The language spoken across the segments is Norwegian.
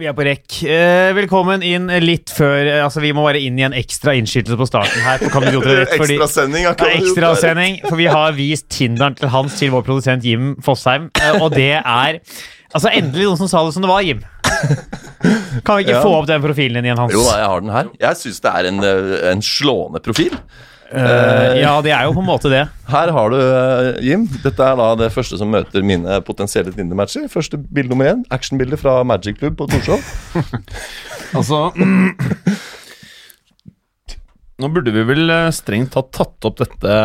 Vi er på rekk. Eh, velkommen inn litt før eh, Altså, vi må være inn i en ekstra innskytelse på starten her. På Kan du gjøre det rett, fordi, Ekstrasending. har det ikke er man gjort der. ekstrasending, for vi har vist Tinderen til Hans til vår produsent Jim Fosheim, eh, og det er Altså, endelig noen som sa det som det var, Jim. Kan vi ikke Ja. få opp den profilen din igjen, Hans? Jo da, jeg har den her. Jeg syns det er en, eh, en slående profil. Eh, ja, det er jo på en måte det. Her har du eh, Jim. Dette er da det første som møter mine potensielle Tinder-matcher. Første bilde nummer én. Actionbilde fra Magic Club på Torshov. Altså Nå burde vi vel eh, strengt tatt tatt opp dette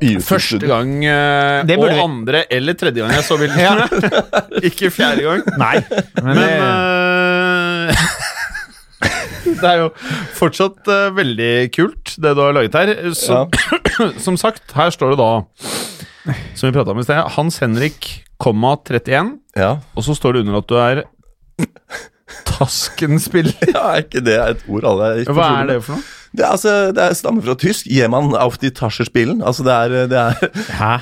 I første gang eh, Det og burde vi. andre eller tredje gang jeg så bildet. Ikke fjerde gang. Nei. Men, Men eh, eh, Det er jo fortsatt eh, veldig kult, det du har laget her. Så, Ja. Som sagt, her står det da, som vi prata om i sted, Hans Henrik, komma 31, Ja. og så står det under at du er Tasken-spiller. ja, er ikke det et ord alle er Hva er det for noe? Det, er, altså, det er stammer fra tysk. Jemann auf die Tascherspielen. Altså, det er, det er, hæ?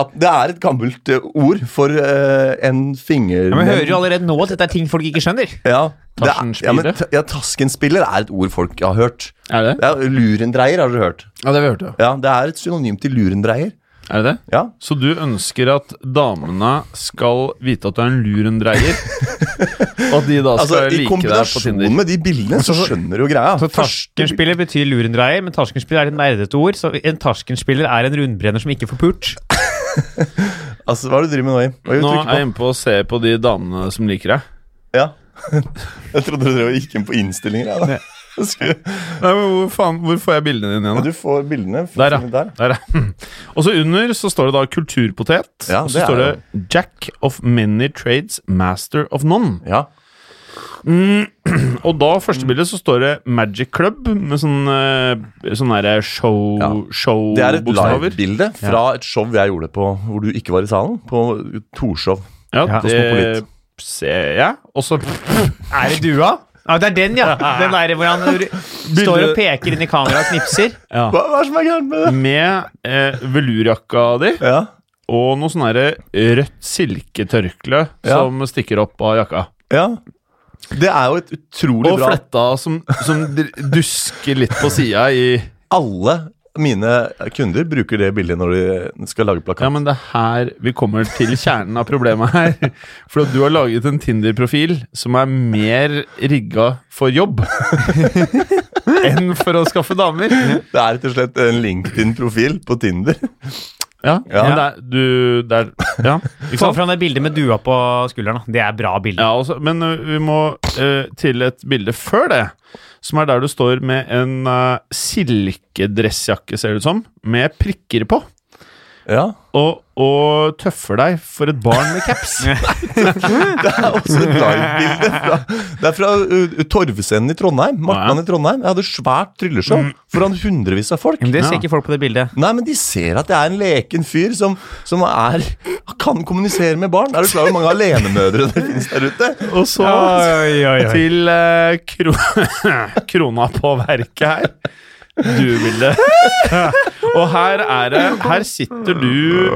at det er et gammelt eh, ord for eh, en finger... Ja, men hører jo allerede nå at dette er ting folk ikke skjønner. Ja, det er- ja, men Taskenspillere? ta- ja, taskenspiller er et ord folk har hørt. Er det Det er lurendreier, har dere hørt. Ja, det har vi hørt, ja. Ja, Det er et synonym til lurendreier. Er det det? Ja, Så du ønsker at damene skal vite at du er en lurendreier, og at de da skal altså I like deg på kombinasjon Tinder? med de bildene, så skjønner du jo greia. Så Tarskenspiller betyr lurendreier, men tarskenspiller er et nerdete ord. Så en tarskenspiller er en rundbrenner som ikke får pult. Altså, Hva er det du driver med nå, Jim? Hva er det du Nå trykker er jeg inne på å se på de damene som liker deg. på? Ja. jeg trodde du drev og gikk inn på innstillinger. Ja, da. Skulle- Nei, men hvor, faen, hvor får jeg bildene dine igjen? Du får bildene da? fra Der, ja. Der, ja. Og så under så står det da 'kulturpotet'. Ja, og det så er står det 'Jack of many trades, master of none'. Ja. Og da, første bildet, så står det 'Magic Club' med sånn, eh, sånn derre show, Ja. Det er et show-bokstaver. livebilde fra et show jeg gjorde på hvor du ikke var i salen. På Torshov. Ja, Ja. det ser jeg. Og så Er det dua? Ja, det er den, ja. Den der hvor han r- står og peker inn i kameraet og knipser. ja. Hva, hva er det som er gærent med det? med eh, velurjakka di Ja. og noe sånn derre rødt silketørkle Ja. som stikker opp av jakka. ja. Det er jo et utrolig Og bra fletta som, som dr- dusker litt på sida i Alle mine kunder bruker det bildet når de skal lage plakat. Ja, men det er her vi kommer til kjernen av problemet her. For at du har laget en Tinder-profil som er mer rigga for jobb enn for å skaffe damer. Det er rett og slett en LinkedIn-profil på Tinder. Ja, Ja. Men det er, du, det er, ja ikke Få sant? fram det bildet med dua på skulderen. da. Det er bra bilde. Ja, også, men ø, vi må ø, til et bilde før det, som er der du står med en ø, silkedressjakke, ser det ut som, med prikker på, Ja. og, og tøffer deg for et barn med caps. Det er også et livebilde. fra- Det er fra uh, Torvescenen i Trondheim. Martland i Trondheim. Jeg hadde svært trylleshow foran hundrevis av folk. Men Det ser Ja. ikke folk på det bildet. Nei, men de ser at jeg er en leken fyr som, som er, kan kommunisere med barn. Er du klar over hvor mange alenemødre det finnes der ute? og så til ø, kro krona på verket her. Du-bildet. og her er det Her sitter du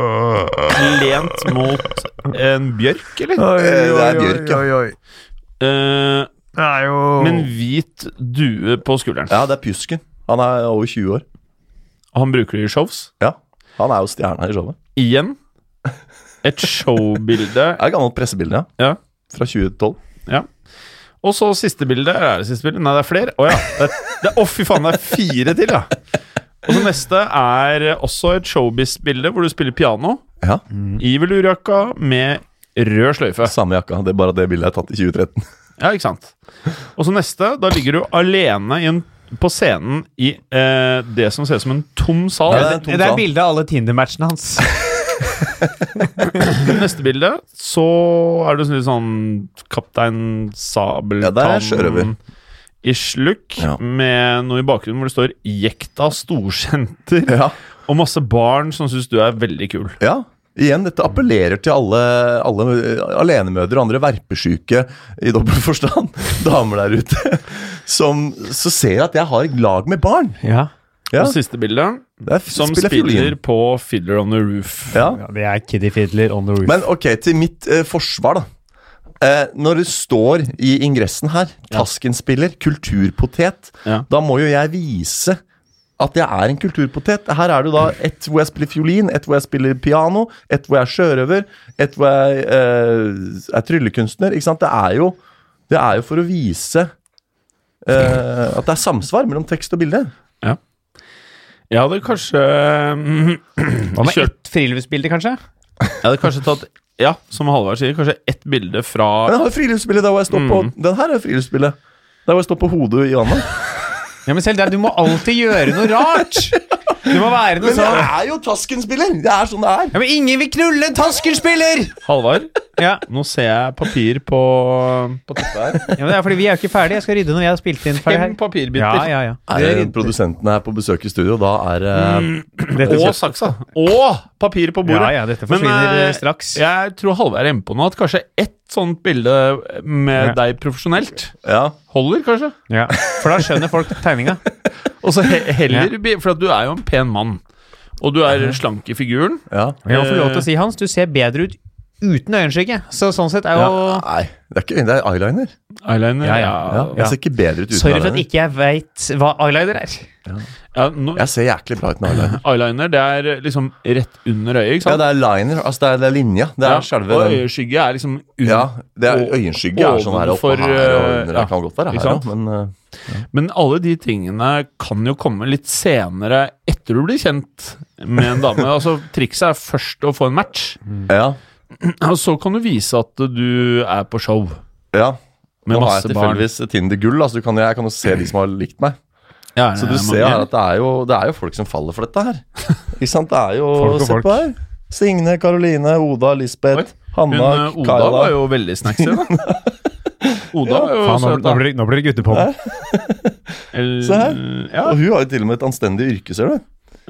lent mot en bjørk, eller? Eh, Det er Bjørk, ja. Eh, Det er jo med en hvit due på skulderen. Ja, det er Pjusken. Han er over 20 år. Og han bruker det i shows. Ja. Han er jo stjerna i showet. Igjen. Et showbilde. Det er et gammelt pressebilde, ja. Ja. Fra 2012. ja. Og så siste bilde. Er det siste bilde? Nei, det er flere. Å ja. Det er- det er- Å, fy faen, det er fire til, ja. Og så neste er også et showbiz-bilde hvor du spiller piano Ja, i velurjakka med rød sløyfe. Samme jakka. Det er bare at det bildet er tatt i 2013. Ja, ikke sant? Og så neste. Da ligger du alene i en, på scenen i eh, det som ser ut som en tom sal. Ja, det er en tom Det er sal. bildet av alle Tinder-matchene hans. Neste bilde, så er du sånn litt sånn Kaptein Ja, der er sjørøver. Sabeltann-ish look, Ja. med noe i bakgrunnen hvor det står 'Jekta storsenter', Ja. og masse barn som syns du er veldig kul. Ja. Igjen, dette appellerer til alle, alle eh, alenemødre og andre verpesyke i dobbel forstand, damer der ute, som så ser at jeg har et lag med barn. Ja. Ja, Og siste bilde, det er, som spiller spiller, fiolin. på Fiddler on the Roof. Ja. Det er Kiddie Fiddler on the roof. Men ok, til mitt eh, forsvar, da. Eh, når det står i ingressen her, Tasken-spiller, kulturpotet, Ja. da må jo jeg vise at jeg er en kulturpotet. Her er det jo da ett hvor jeg spiller fiolin, ett hvor jeg spiller piano, ett hvor jeg er sjørøver, ett hvor jeg eh, er tryllekunstner. Ikke sant? Det er jo, det er jo for å vise eh, at det er samsvar mellom tekst og bilde. Jeg hadde kanskje Hva med Kjør. ett friluftsbilde, kanskje? Jeg hadde kanskje tatt Ja, som Halvard sier, kanskje ett bilde fra Men jeg har jo friluftsbildet der hvor jeg står på Den her er friluftsbildet. Der hvor jeg står på hodet i vannet. Ja, men selv der, du må alltid gjøre noe rart! Det må være noe Men jeg sånn er jo Tasken-spiller! Det er sånn det er. Ja, men ingen vil knulle en Tasken-spiller! Halvard. Ja. Nå ser jeg papir på, på teppet her. ja, men det er fordi vi er jo ikke ferdige. Jeg skal rydde når jeg har spilt inn ferdig Fem her. papirbiter. Ja, ja, ja. Er det produsenten her på besøk i studio, da er eh, Dette Og saksa. Og papir på bordet. Ja, ja, dette forsvinner, eh, eh, straks. Jeg tror Halvard er inne på noe. At kanskje ett sånt bilde eh, med deg profesjonelt Ja. holder, kanskje. Ja, for da skjønner folk tegninga. Og så he heller bi- For at du er jo en pen mann. Og du er slank i figuren. ja. Jeg må få lov til å si, Hans, du ser bedre ut uten øyenskygge. Så sånn sett er jo Nei, det er, ikke, det er eyeliner. Eyeliner. Ja, Ja, ja. Ja, Ja. Jeg ser ikke bedre ut uten Sorry for at eyeliner. ikke jeg veit hva eyeliner er. Ja, nå, Jeg ser jæklig bra ut med eyeliner. Eyeliner, det er liksom rett under øyet, ikke Ja, sant? det er liner. Altså, det er, det er linja. Det er selve Og den. øyeskygge er liksom un Ja, det er øyenskygge er sånn her oppe Ovenfor, her og eh, under. ja, Det kan godt være ikke her sant? òg, men eh, Men alle de tingene kan jo komme litt senere etter du blir kjent med en dame. altså Trikset er først å få en match, eh, ja. og så kan du vise at du er på show ja. med Nå har jeg masse barn. tilfeldigvis Tinder gull, altså, du kan, jeg kan jo se de som har likt meg. Ja, det Så du er ser mange. her at det er, jo, det er jo folk som faller for dette her. Ikke sant? Det er jo Folk og Se folk. på her. Signe, Karoline, Oda, Lisbeth, Hun Hanna, eh, Oda Kaila. var jo veldig snacksy, da. Oda var jo søt, da. blir, det guttepop. Eller- Se her. Ja. Og hun har jo til og med et anstendig yrke, ser du.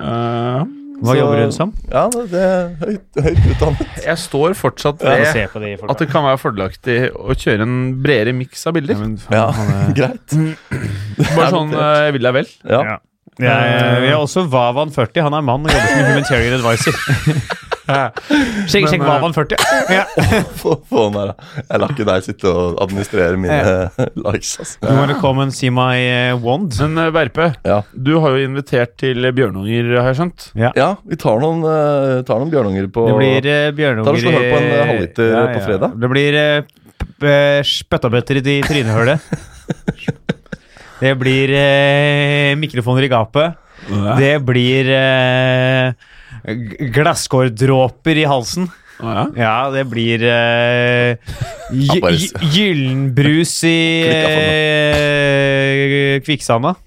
eh, Hva Så- jobber hun som? Ja, det, det er høyt, høyt utdannet. jeg står fortsatt Få ved se på de folka. at det kan være fordelaktig å kjøre en bredere miks av bilder. Ja, men faen, Ja, han er- greit. Bare sånn eh, vil deg vel. Ja. Ja. Jeg- Vi har også Vavan 40. Han er mann og jobber som humanitarian advisor. Sjekk, sjekk Men, eh, Vavan 40. Ja. Få, få den der, da. Jeg lar ikke deg sitte og administrere mine likes, Oh, You altså. wanna come and see my eh, wand? Men eh, Verpe, Ja. du har jo invitert til Bjørnunger, har jeg skjønt. ja, vi tar noen, eh, tar noen bjørnunger på Det blir eh, Ta bjørnunger og slå hull på en, eh, halvliter på fredag. Det blir eh, p- p- spyttabøtter i trynehullet. Det blir eh, mikrofoner i gapet. Det, Det blir eh, g- glasskårdråper i halsen. ja. Ja, det blir eh, gy- bare- gy- Gyllenbrus i eh, Klikka for kvikksanda.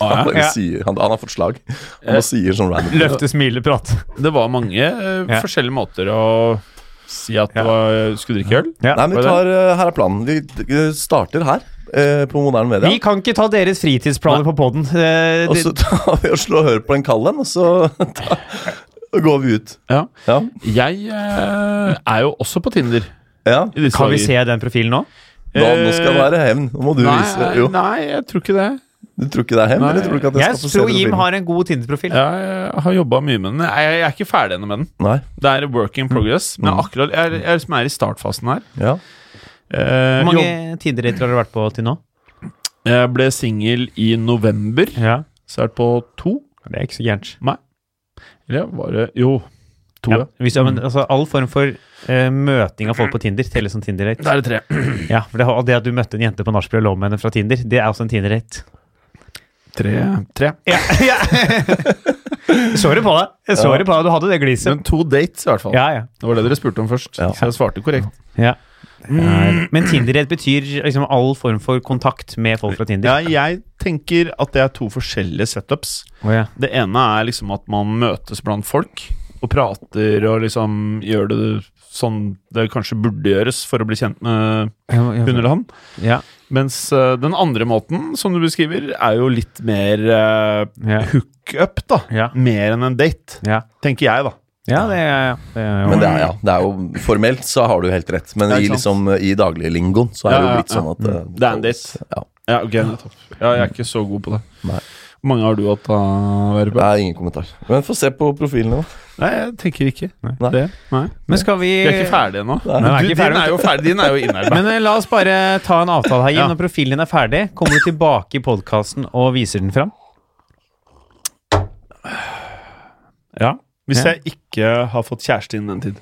Han, bare Ja. sier, han, han har fått slag. Han bare sier sånn random. Løfte, smile, prate. det var mange eh, Ja. forskjellige måter å si at Ja. du var, skulle drikke øl. Ja. Nei, men vi tar, eh, her er planen. Vi eh, starter her, eh, på moderne media. Vi kan ikke ta deres fritidsplaner på poden. Eh, Og det- så tar vi og slår hør på en kall en, og så ta, går vi ut. Ja. Ja. Jeg eh, er jo også på Tinder. ja. I disse kan vi dager. se den profilen nå? Nå, nå skal det være hevn. Nå må du vise. Eh, Nei, Jo, nei, jeg tror ikke det. du tror ikke det er hevn? Nei. Eller tror du ikke at jeg Jeg skal få se tror den Jim filmen? har en god Tinder-profil. Jeg eh, har jobba mye med den. Jeg, jeg er ikke ferdig ennå med den. Nei. Det er work in progress. Men jeg, er akkurat, jeg, er- jeg er liksom er i startfasen her. Ja. Eh, Hvor jobb- mange Tinder-dater har du vært på til nå? Jeg ble singel i november. Ja, Så er det på to. Det er ikke så gærent. Eller var det Jo, to, Ja. ja. Hvis, ja, Mm. men, altså, all form for eh, møting av folk på Tinder teller som Tinder-date. Da er det tre. Ja, for det, og det at du møtte en jente på nachspiel og lå med henne fra Tinder, det er også en Tinder-date. Tre. tre. Ja, ja. så det på deg. Jeg så Ja. det på deg. Du hadde det gliset. Men to dates, i hvert fall. Ja, ja. Det var det dere spurte om først. Ja. Så jeg svarte korrekt. ja. Mm. Men Tinder-date betyr liksom all form for kontakt med folk fra Tinder. Ja, jeg tenker at det er to forskjellige setups. Å, ja. Det ene er liksom at man møtes blant folk og prater og liksom gjør det sånn det kanskje burde gjøres for å bli kjent med hun eller han. Ja. Mens eh, den andre måten, som du beskriver, er jo litt mer eh, Ja. hookup, da. Ja. Mer enn en date, Ja. tenker jeg, da. ja, det er ja. det er jo Men det er, ja, det er jo formelt så har du helt rett, men Ja, i, ikke liksom, i dagliglingoen så er det Ja, jo ja, blitt ja. sånn at eh, Det er en date. Ja. Ja, ok, nettopp. Ja, jeg er ikke så god på det. Nei. Hvor mange har du hatt, da, Verbe? Nei, ingen kommentar. Men få se på profilen, da. Nei, jeg tenker ikke. Nei. Det? Nei. Men skal vi Vi er ikke ferdige ennå. Nei, Nei. vi er ikke ferdige. Du, Din er jo ferdig. Din er jo innerba. Men eh, la oss bare ta en avtale her, Jim. Ja. Når profilen din er ferdig, kommer du tilbake i podkasten og viser den fram? Ja. Hvis Ja. jeg ikke har fått kjæreste innen den tid.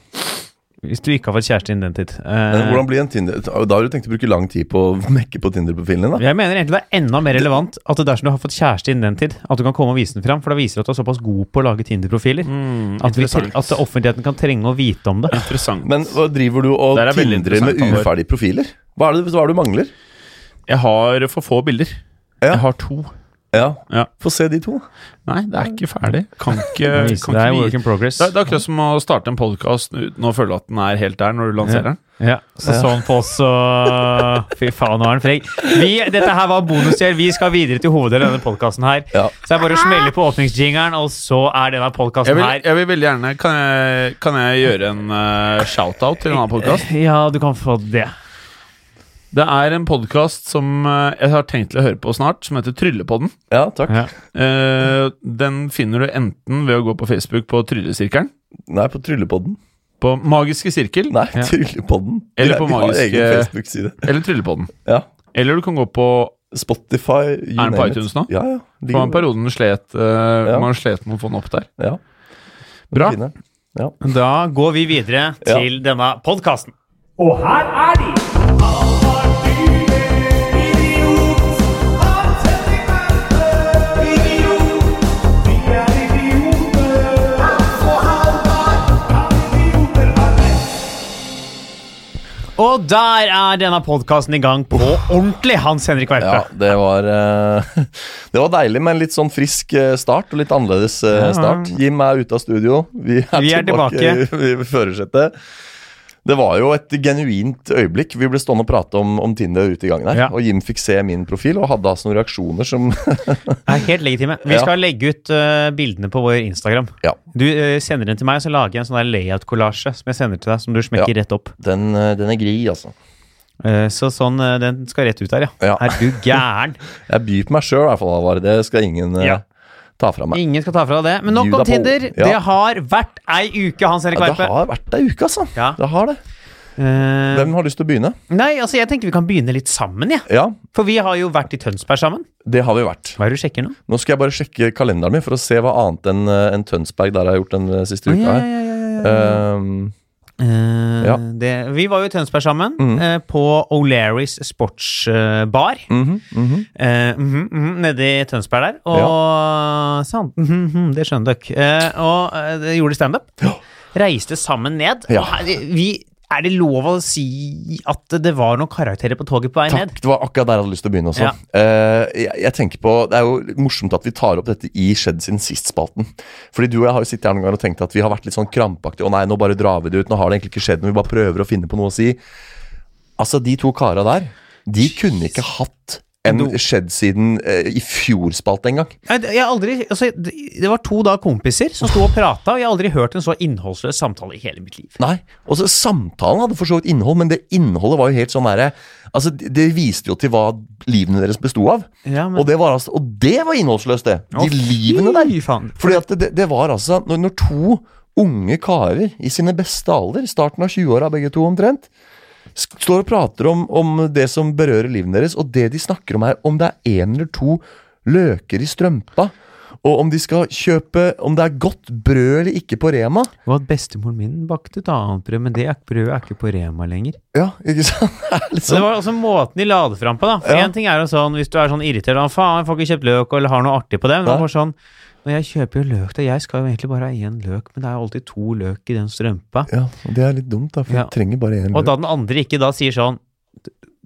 Hvis du ikke har fått kjæreste innen den tid. Eh, Men Hvordan blir en Tinder Da har du tenkt å bruke lang tid på å mekke på Tinder-profilen din, da. jeg mener egentlig det er enda mer relevant at det dersom du har fått kjæreste innen den tid, at du kan komme og vise den fram. For da viser det at du er såpass god på å lage Tinder-profiler at, vi, Mm, interessant. at offentligheten kan trenge å vite om det. Interessant. Men hva driver du og Der er veldig tindrer med interessant, Halvor. uferdige profiler? Hva er det, hva er det du mangler? Jeg har for få bilder. Ja. Jeg har to. Ja. Ja. Få se de to. Nei, det er ikke ferdig. Kan ikke, Det Eh, viser- kan det ikke er vi- work in progress. Det er, det er akkurat som å starte en podkast uten å føle at den er helt der når du lanserer den. Ja, så så han på oss og Fy faen, nå er han frekk. Vi, dette her var bonusdel. Vi skal videre til hoveddelen av denne podkasten her. Ja. Så det er bare å smelle på åpningsjingeren, og så er denne Jeg Altså, podkasten vil, her. jeg vil veldig gjerne Kan jeg, kan jeg gjøre en eh, shout-out til en annen podkast? Ja, du kan få det. Det er en podkast som eh, jeg har tenkt til å høre på snart, som heter Tryllepodden. Ja, takk. Ja. Eh, den finner du enten ved å gå på Facebook på Tryllesirkelen, Nei, på Tryllepodden. på Magiske sirkel, Nei, Ja. Tryllepodden. Eller De- på de har magiske- egen Facebook-side. eller Tryllepodden. Ja. Eller du kan gå på Spotify, you Er den på name it. iTunes nå? Ja, ja. For en periode den slet, eh, Ja. man slet med å få den opp der. Ja. Bra. Fine. Da går vi videre Ja. til denne podkasten. Og her er de! Og der er denne podkasten i gang på ordentlig, Hans Henrik Ja, Verpe. det var eh, Det var deilig med en litt sånn frisk eh, start, og litt annerledes eh, start. Jim er ute av studio. Vi er, Vi er i førersetet. Det var jo et genuint øyeblikk. Vi ble stående og prate om, om Tinder ute i gangen her. Ja. Og Jim fikk se min profil, og hadde altså noen reaksjoner som Det er helt legitime. Vi Ja. skal legge ut eh, bildene på vår Instagram. Ja. Du eh, sender den til meg, og så lager jeg en sånn der layout-kollasje som jeg sender til deg, som du smekker Ja. rett opp. Den, eh, den er gri, altså. Eh, så sånn, eh, den skal rett ut der, ja. Ja. Er du gæren? Jeg byr på meg sjøl, i hvert fall. Halvard. Det skal ingen eh, Ja. ta fra meg. Ingen skal ta fra deg det. Men nok Juda om på- Tinder. Ja. Det har vært ei uke, Hans Henrik Ja, det Verpe. har vært ei uke, altså. Ja. Det har det. Eh, Hvem har lyst til å begynne? nei, altså, jeg tenker vi kan begynne litt sammen, jeg. Ja. Ja, For vi har jo vært i Tønsberg sammen. det har vi vært. Hva er det du sjekker nå? Nå skal jeg bare sjekke kalenderen min for å se hva annet enn eh, enn Tønsberg der jeg har gjort den eh, siste uka. her. Ehm, Eh, Ja. Mm. det, vi var jo i Tønsberg sammen, eh, på O'Learys sportsbar. mhm, mhm. Eh, mhm, mhm, nede i Tønsberg der. Og sånn, mhm, mhm, det skjønner dere. Eh, og eh, det gjorde standup. Reiste sammen ned. Ja. Og her, vi, er det lov å si at det var noen karakterer på toget på vei Takk, ned? det var akkurat der jeg hadde lyst til å begynne også. Ja. Eh, jeg, jeg tenker på, Det er jo litt morsomt at vi tar opp dette i Skjedd sin sist-spalten. Fordi du og jeg har jo sittet her noen ganger og tenkt at vi har vært litt sånn krampaktige. Å nei, nå bare drar vi det ut. Nå har det egentlig ikke skjedd, men vi bare prøver å finne på noe å si. Altså, de to kara der, de kunne ikke hatt en No. skjedd siden eh, i fjor-spalte engang. Nei, det- Jeg har aldri, altså, det det var to da kompiser som sto og prata, og jeg har aldri hørt en så innholdsløs samtale i hele mitt liv. Nei, og så Samtalen hadde for så vidt innhold, men det innholdet var jo helt sånn derre Altså, det det viste jo til hva livene deres besto av. Ja, men- Og det var altså Og det var innholdsløst, det! De livene der. Fy faen. Fordi at det, det var altså når, når to unge karer i sine beste alder, starten av 20-åra begge to omtrent, sk- står og prater om, om det som berører livene deres, og det de snakker om er om det er én eller to løker i strømpa, og om de skal kjøpe Om det er godt brød eller ikke på Rema. Og at bestemoren min bakte et annet brød, men det er- brødet er ikke på Rema lenger. Ja, ikke sant? Det er litt Så sånn- det var også måten de la det fram på, da. For Ja. en ting er jo sånn, hvis du er sånn irritert, da, faen, jeg får ikke kjøpt løk, eller har noe artig på det, men det Nei. var sånn, når jeg kjøper jo løk, da, jeg skal jo egentlig bare ha én løk, men det er jo alltid to løk i den strømpa. Ja, og det er litt dumt, da, for Ja. jeg trenger bare én Og løk. da den andre ikke da sier sånn,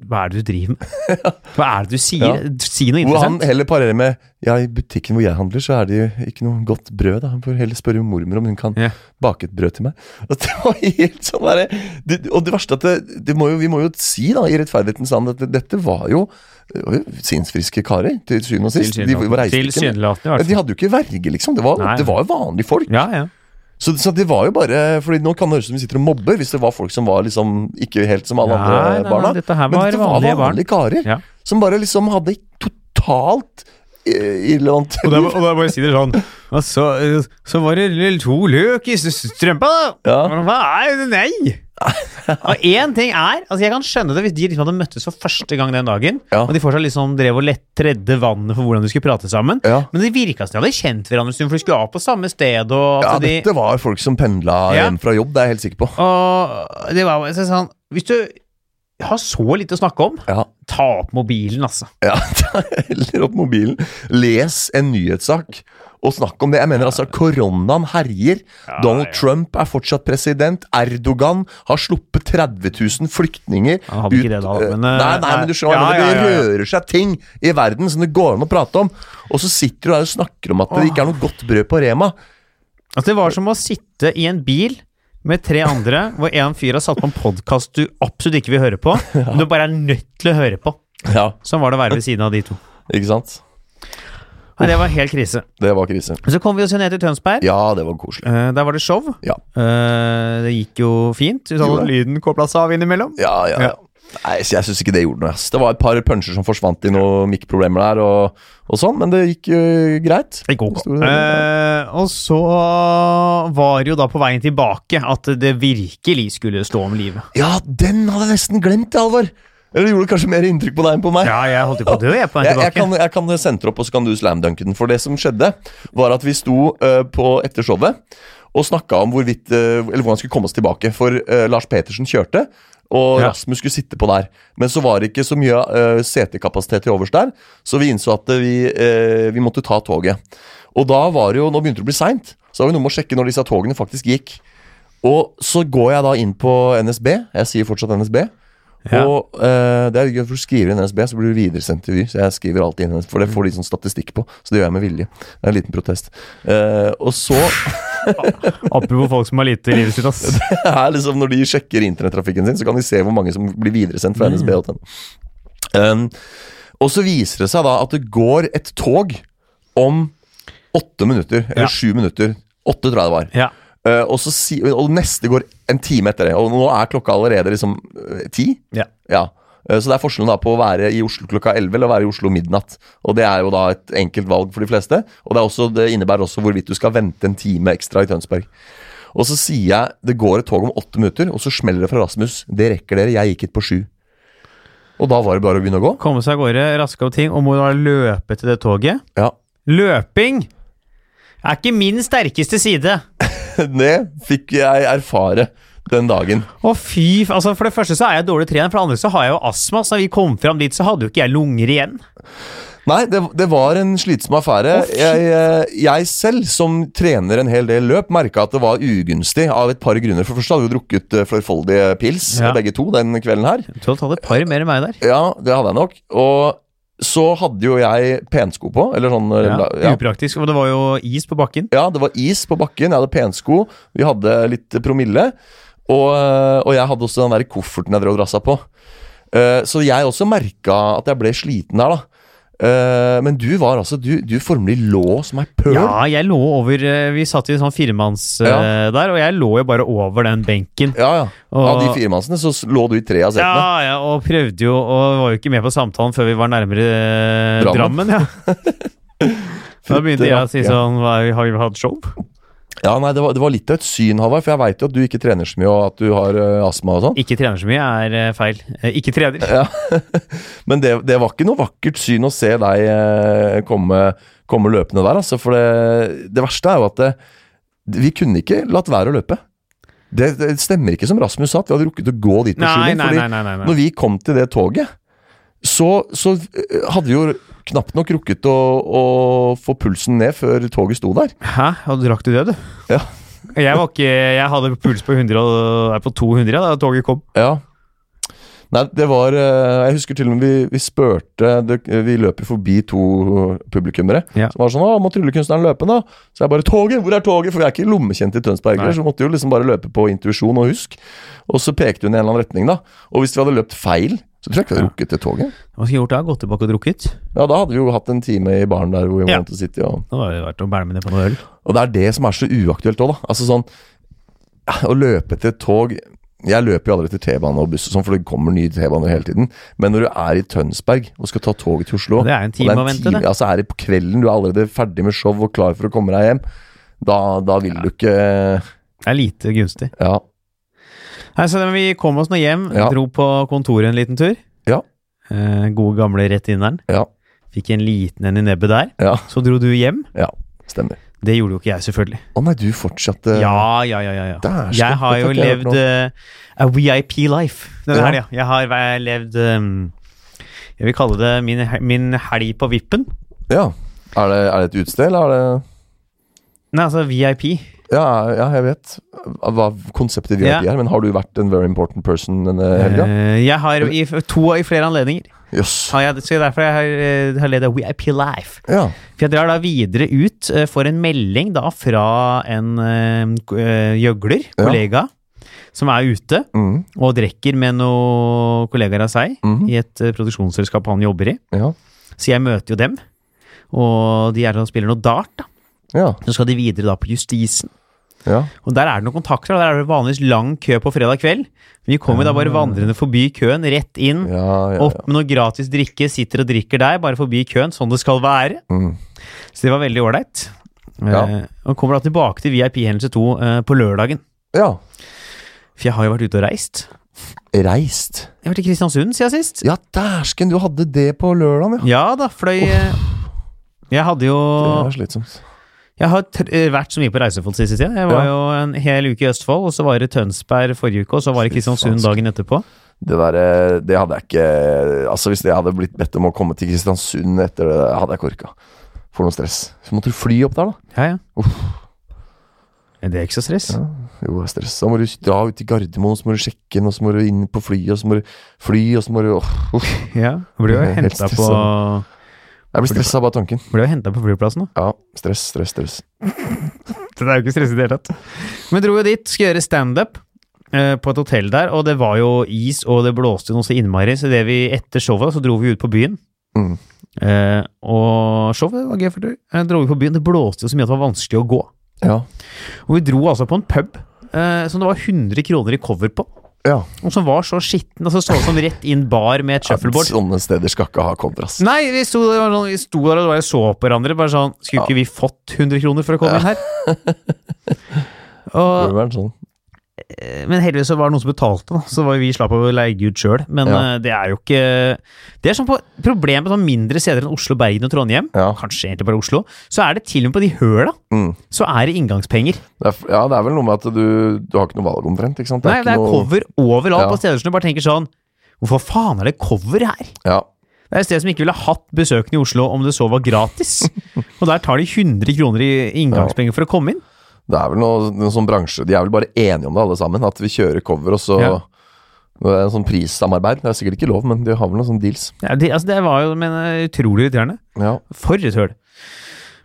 hva er det du driver med? Hva er det du sier? Ja. Si noe Hvor han interessant. heller parerer med Ja, i butikken hvor jeg handler, så er det jo ikke noe godt brød. da Han får heller spørre mormor om hun kan Ja. bake et brød til meg. Og det var helt sånn derre det- Og det verste at det, det må jo, vi må jo si, da, i rettferdighetens navn, at det, dette var jo, det var jo sinnsfriske karer, til syvende og sist. De var- reiste ikke med- Tilsynelatende, i Ja, hvert de fall. hadde jo ikke verge, liksom. Det var, Nei. det var jo vanlige folk. Ja, ja. Så, så det var jo bare Fordi nå kan det høres ut som vi sitter og mobber, hvis det var folk som var liksom ikke helt som Nei, alle andre nei, nei, barna. dette her Men var dette var vanlige barn. vanlige karer. Ja. som bare liksom hadde totalt eh, irrelevant Og da, og da bare sier det sånn «Ja, så, eh, så var det l- to løk i s- strømpa, da. Ja. Men Hva er det? Nei! Og én ting er Altså Jeg kan skjønne det hvis de liksom hadde møttes for første gang den dagen, Ja. og de fortsatt liksom drev og lett tredde vannet for hvordan de skulle prate sammen. Ja. Men det virka som de hadde kjent hverandre en stund, for de skulle av på samme sted. Og, Ja, at de, dette var folk som pendla Ja. hjem fra jobb, det er jeg helt sikker på. og det var så sånn Hvis du har så lite å snakke om, Ja, ta opp mobilen, altså. ja Heller opp mobilen. Les en nyhetssak og snakk om det. Jeg mener altså, koronaen herjer. Donald Trump er fortsatt president. Erdogan har sluppet 30 000 flyktninger Han hadde ikke det da, men, nei, eh, nei, men du skjønner, ja, hva jeg mener, ja, ja, ja. det rører seg ting i verden som det går an å prate om. Og så sitter du der og snakker om at det ikke er noe godt brød på Rema. Altså, det var som å sitte i en bil med tre andre, hvor en fyr har satt på en podkast du absolutt ikke vil høre på, men du bare er nødt til å høre på. Ja, Sånn var det å være ved siden av de to. ikke sant? Nei, det var helt krise. Det var krise. Men Så kom vi oss jo ned til Tønsberg. Ja, det var koselig. Eh, der var det show. Ja. Eh, det gikk jo fint. Uten Gjorde at lyden kobla seg av innimellom. Ja, ja, Ja. ja. Nei, så jeg syns ikke det gjorde noe. ass. Det var et par puncher som forsvant i noen mikkproblemer der, og, og sånn, men det gikk øh, greit. Det gikk ok. Store- Eh, og så var det jo da på veien tilbake at det virkelig skulle stå om livet. Ja, den hadde jeg nesten glemt, Alvar! Eller gjorde det kanskje mer inntrykk på deg enn på meg? Ja, jeg holdt jo på å dø, jeg, på veien Jeg, jeg, tilbake. kan, jeg kan sentre opp, og så kan du slamdunke den. For det som skjedde, var at vi sto øh, på etter showet og snakka om hvorvidt, øh, eller hvordan vi skulle komme oss tilbake. For øh, Lars Petersen kjørte, og Ja. Rasmus skulle sitte på der. Men så var det ikke så mye øh, setekapasitet til overs der, så vi innså at øh, vi, øh, vi måtte ta toget. Og da var det jo, nå begynte det å bli seint, så da var det noe med å sjekke når disse togene faktisk gikk. Og så går jeg da inn på NSB. Jeg sier fortsatt NSB. Ja. Og eh, det er jo gøy, for du skriver inn NSB, så blir du videresendt til Vy. Så jeg skriver alltid inn NSB, for det får de sånn statistikk på. Så det gjør jeg med vilje. Det er en liten protest. Eh, og så Apropos folk som har lite i livet sitt, ass. er liksom Når de sjekker internettrafikken sin, så kan de se hvor mange som blir videresendt Mm. fra NSB. Um, og så viser det seg da at det går et tog om åtte minutter. Ja. Eller sju minutter. Åtte, tror jeg det var. Ja. Eh, og, så si, og neste går en time etter det. Og nå er klokka allerede liksom eh, ti. Ja. Ja. Eh, Så det er forskjellen da på å være i Oslo klokka 11 eller å være i Oslo midnatt. Og det er jo da et enkelt valg for de fleste. Og det, er også, det innebærer også hvorvidt du skal vente en time ekstra i Tønsberg. Og så sier jeg det går et tog om åtte minutter, og så smeller det fra Rasmus. Det rekker dere, jeg gikk hit på sju. Og da var det bare å begynne å gå. Komme seg av gårde, raske opp ting, og må da løpe til det toget. Ja. Løping er ikke min sterkeste side. Det fikk jeg erfare den dagen. Å fy, f- altså For det første så er jeg dårlig trent, for det andre så har jeg jo astma. Så da vi kom fram dit, så hadde jo ikke jeg lunger igjen. Nei, det, det var en slitsom affære. Å, fy. jeg, eh, jeg selv, som trener en hel del løp, merka at det var ugunstig av et par grunner. For det første hadde vi drukket eh, flerfoldige pils, Ja. begge to, den kvelden her. Jeg tror jeg hadde et par mer enn meg der. Ja, det hadde jeg nok. Og så hadde jo jeg pensko på, eller sånn eh, Ja, la- ja. Upraktisk. Og det var jo is på bakken. Ja, det var is på bakken, jeg hadde pensko, vi hadde litt promille. Og, eh, og jeg hadde også den der kofferten jeg drev og drassa på. Eh, Så jeg også merka at jeg ble sliten der, da. Eh, Men du var altså Du, du formelig lå som ei pøl. Ja, jeg lå over eh, Vi satt i en sånn firemanns eh, Ja. der, og jeg lå jo bare over den benken. Ja, ja. Av Og- de firemannsene så s- lå du i tre av setene. Ja, ja, og prøvde jo, og var jo ikke med på samtalen før vi var nærmere eh, Drammen. Drammen. ja. Da begynte jeg å si rakker. sånn hva, Har vi hatt show? Ja, nei, det var, det var litt av et syn, Halvard, for jeg veit jo at du ikke trener så mye, og at du har eh, astma og sånn. Ikke trener så mye er eh, feil. Eh, Ikke trener. Men det, det var ikke noe vakkert syn å se deg eh, komme, komme løpende der, altså. For det, det verste er jo at det, vi kunne ikke latt være å løpe. Det, det stemmer ikke som Rasmus sa, at vi hadde rukket å gå dit på Nei, skylen. nei, fordi nei. nei, nei, nei. når vi kom til det toget, så, så eh, hadde vi jo knapt nok rukket å, å få pulsen ned før toget sto der. Hæ? Og drakk du det, du? Ja. Jeg, var ikke, jeg hadde puls på, 100, og- nei, på 200 da toget kom. Ja. Nei, det var eh, Jeg husker til og med vi, vi spurte det, Vi løper forbi to publikummere Ja. som var sånn 'Å, må tryllekunstneren løpe, da?' Så jeg bare 'Toget! Hvor er toget?' For vi er ikke lommekjent i Tønsberg, Nei. så vi måtte jo liksom bare løpe på intuisjon og husk. Og så pekte hun i en eller annen retning, da. Og hvis vi hadde løpt feil, så tror jeg ikke vi hadde rukket til toget. Hva skulle jeg gjort da? Gått tilbake og drukket? Ja, da hadde vi jo hatt en time i baren der hvor vi Ja. måtte sitte og Da var det vært å bælme ned på noe øl. og det er det som er så uaktuelt òg, da. Altså sånn ja, Å løpe etter et tog Jeg løper jo aldri etter T-bane og buss, og sånn, for det kommer nye T-baner hele tiden. Men når du er i Tønsberg og skal ta toget til Oslo Det er en og time å vente, time- det. Ja, så er det på kvelden, du er allerede ferdig med show og klar for å komme deg hjem. Da, da vil du ikke Det er lite gunstig. Ja. Nei, så da vi kom oss nå hjem, Ja. dro på kontoret en liten tur. Ja. Eh, gode gamle rett inneren. Ja. Fikk en liten en i nebbet der. Ja. Så dro du hjem. ja stemmer. Det gjorde jo ikke jeg, selvfølgelig. Å nei, du fortsatte Ja, ja, ja. ja, ja. Dæsken, Jeg har jo dette har ikke jeg hørt levd eh, a VIP life denne Ja. helga. Jeg har væ- levd ehm, Jeg vil kalle det min, he- min helg på vippen. ja. Er, det, er det et utested, eller er det Nei, altså VIP. ja, ja, jeg vet hva konseptet VIP Ja. er, men har du vært en very important person denne helga? Eh, jeg har i f- to i flere anledninger. Jøss. Har jeg, så derfor jeg har, eh, har levd a VIP life. Ja. For jeg drar da videre ut, eh, får en melding da fra en eh, k- eh, gjøgler, Ja. kollega, som er ute Mm, og drikker med noen kollegaer av seg Mhm. i et eh, produksjonsselskap han jobber i. ja. Så jeg møter jo dem, og de er og spiller noe dart. da. Ja. Så skal de videre da på Justisen. Ja. Og der er det noen kontakter, og der er det vanligvis lang kø på fredag kveld. Vi kommer da bare vandrende forbi køen, rett inn, Ah. Ja, ja, opp med noe gratis drikke, sitter og drikker der, bare forbi køen, sånn det skal være. Mm. Så det var veldig ålreit. Ja. Eh, og kommer da tilbake til VIP Hendelse 2 eh, på lørdagen. ja. For jeg har jo vært ute og reist. Reist. Jeg har vært i Kristiansund siden sist. Ja, dæsken, du hadde det på lørdag, ja. Ja da, fløy eh, Jeg hadde jo Det var slitsomt. Jeg har tr eh, vært så mye på Reisefold siste tida. Jeg var Ja. jo en hel uke i Østfold, og så var det Tønsberg forrige uke, og så var det Fy Kristiansund dagen faen, etterpå. Det der, eh, det hadde jeg ikke Altså Hvis jeg hadde blitt bedt om å komme til Kristiansund etter det, hadde jeg ikke orka. For noe stress. Så måtte du fly opp der, da. Ja, ja. Uff. Det er ikke så stress. Ja. Jo, det er stress. Da må du dra ut til Gardermoen, så må du sjekke inn, og så må du inn på flyet, og så må du fly, og så må du åh, uff. Ja. Ble jo Det er helt henta altså. på, Jeg blir stressa bare av tanken. ble jo hentet på flyplassen, da. Ja, stress, stress, stress. Det er jo ikke stress i det hele tatt. Men dro jo dit, skulle gjøre standup. eh, På et hotell der, og det var jo is, og det blåste jo noe så innmari. Så det vi etter showet, så dro vi ut på byen. Mm. Eh, og showet var gøy, for det. Eh, dro vi på byen. Det blåste jo så mye at det var vanskelig å gå. Ja. Og vi dro altså på en pub eh, som det var 100 kroner i cover på. ja. Og som var så skitten. Altså så det som rett inn bar med et shuffleboard. Sånne steder skal ikke ha cover, ass. Nei, vi sto, det var sånn, vi sto der og bare så på hverandre. Bare sånn Skulle ikke vi fått 100 kroner for å komme inn her? Burde Og, vært sånn. eh, men heldigvis så var det noen som betalte, da. Så var vi slapp av å leie ut sjøl. Men Ja. eh, det er jo ikke Det er sånn på problemet med sånn mindre steder enn Oslo, Bergen og Trondheim, Ja. kanskje egentlig bare Oslo, så er det til og med på de høla, Mm. så er det inngangspenger. Det er, ja, det er vel noe med at du, du har ikke noe valg omtrent, ikke sant? Nei, det er ikke noe, cover overalt Ja. på steder som du bare tenker sånn Hvorfor faen er det cover her? Ja, Det er et sted som ikke ville hatt besøkende i Oslo om det så var gratis. og der tar de 100 kroner i inngangspenger for å komme inn. det er vel noe, noe sånn bransje, de er vel bare enige om det alle sammen, at vi kjører cover, og så... Ja. Det er en sånn prissamarbeid, det er sikkert ikke lov, men de har vel noen sånne deals. Ja, det, altså, det var jo men, eh, utrolig irriterende. Ja, For et høl.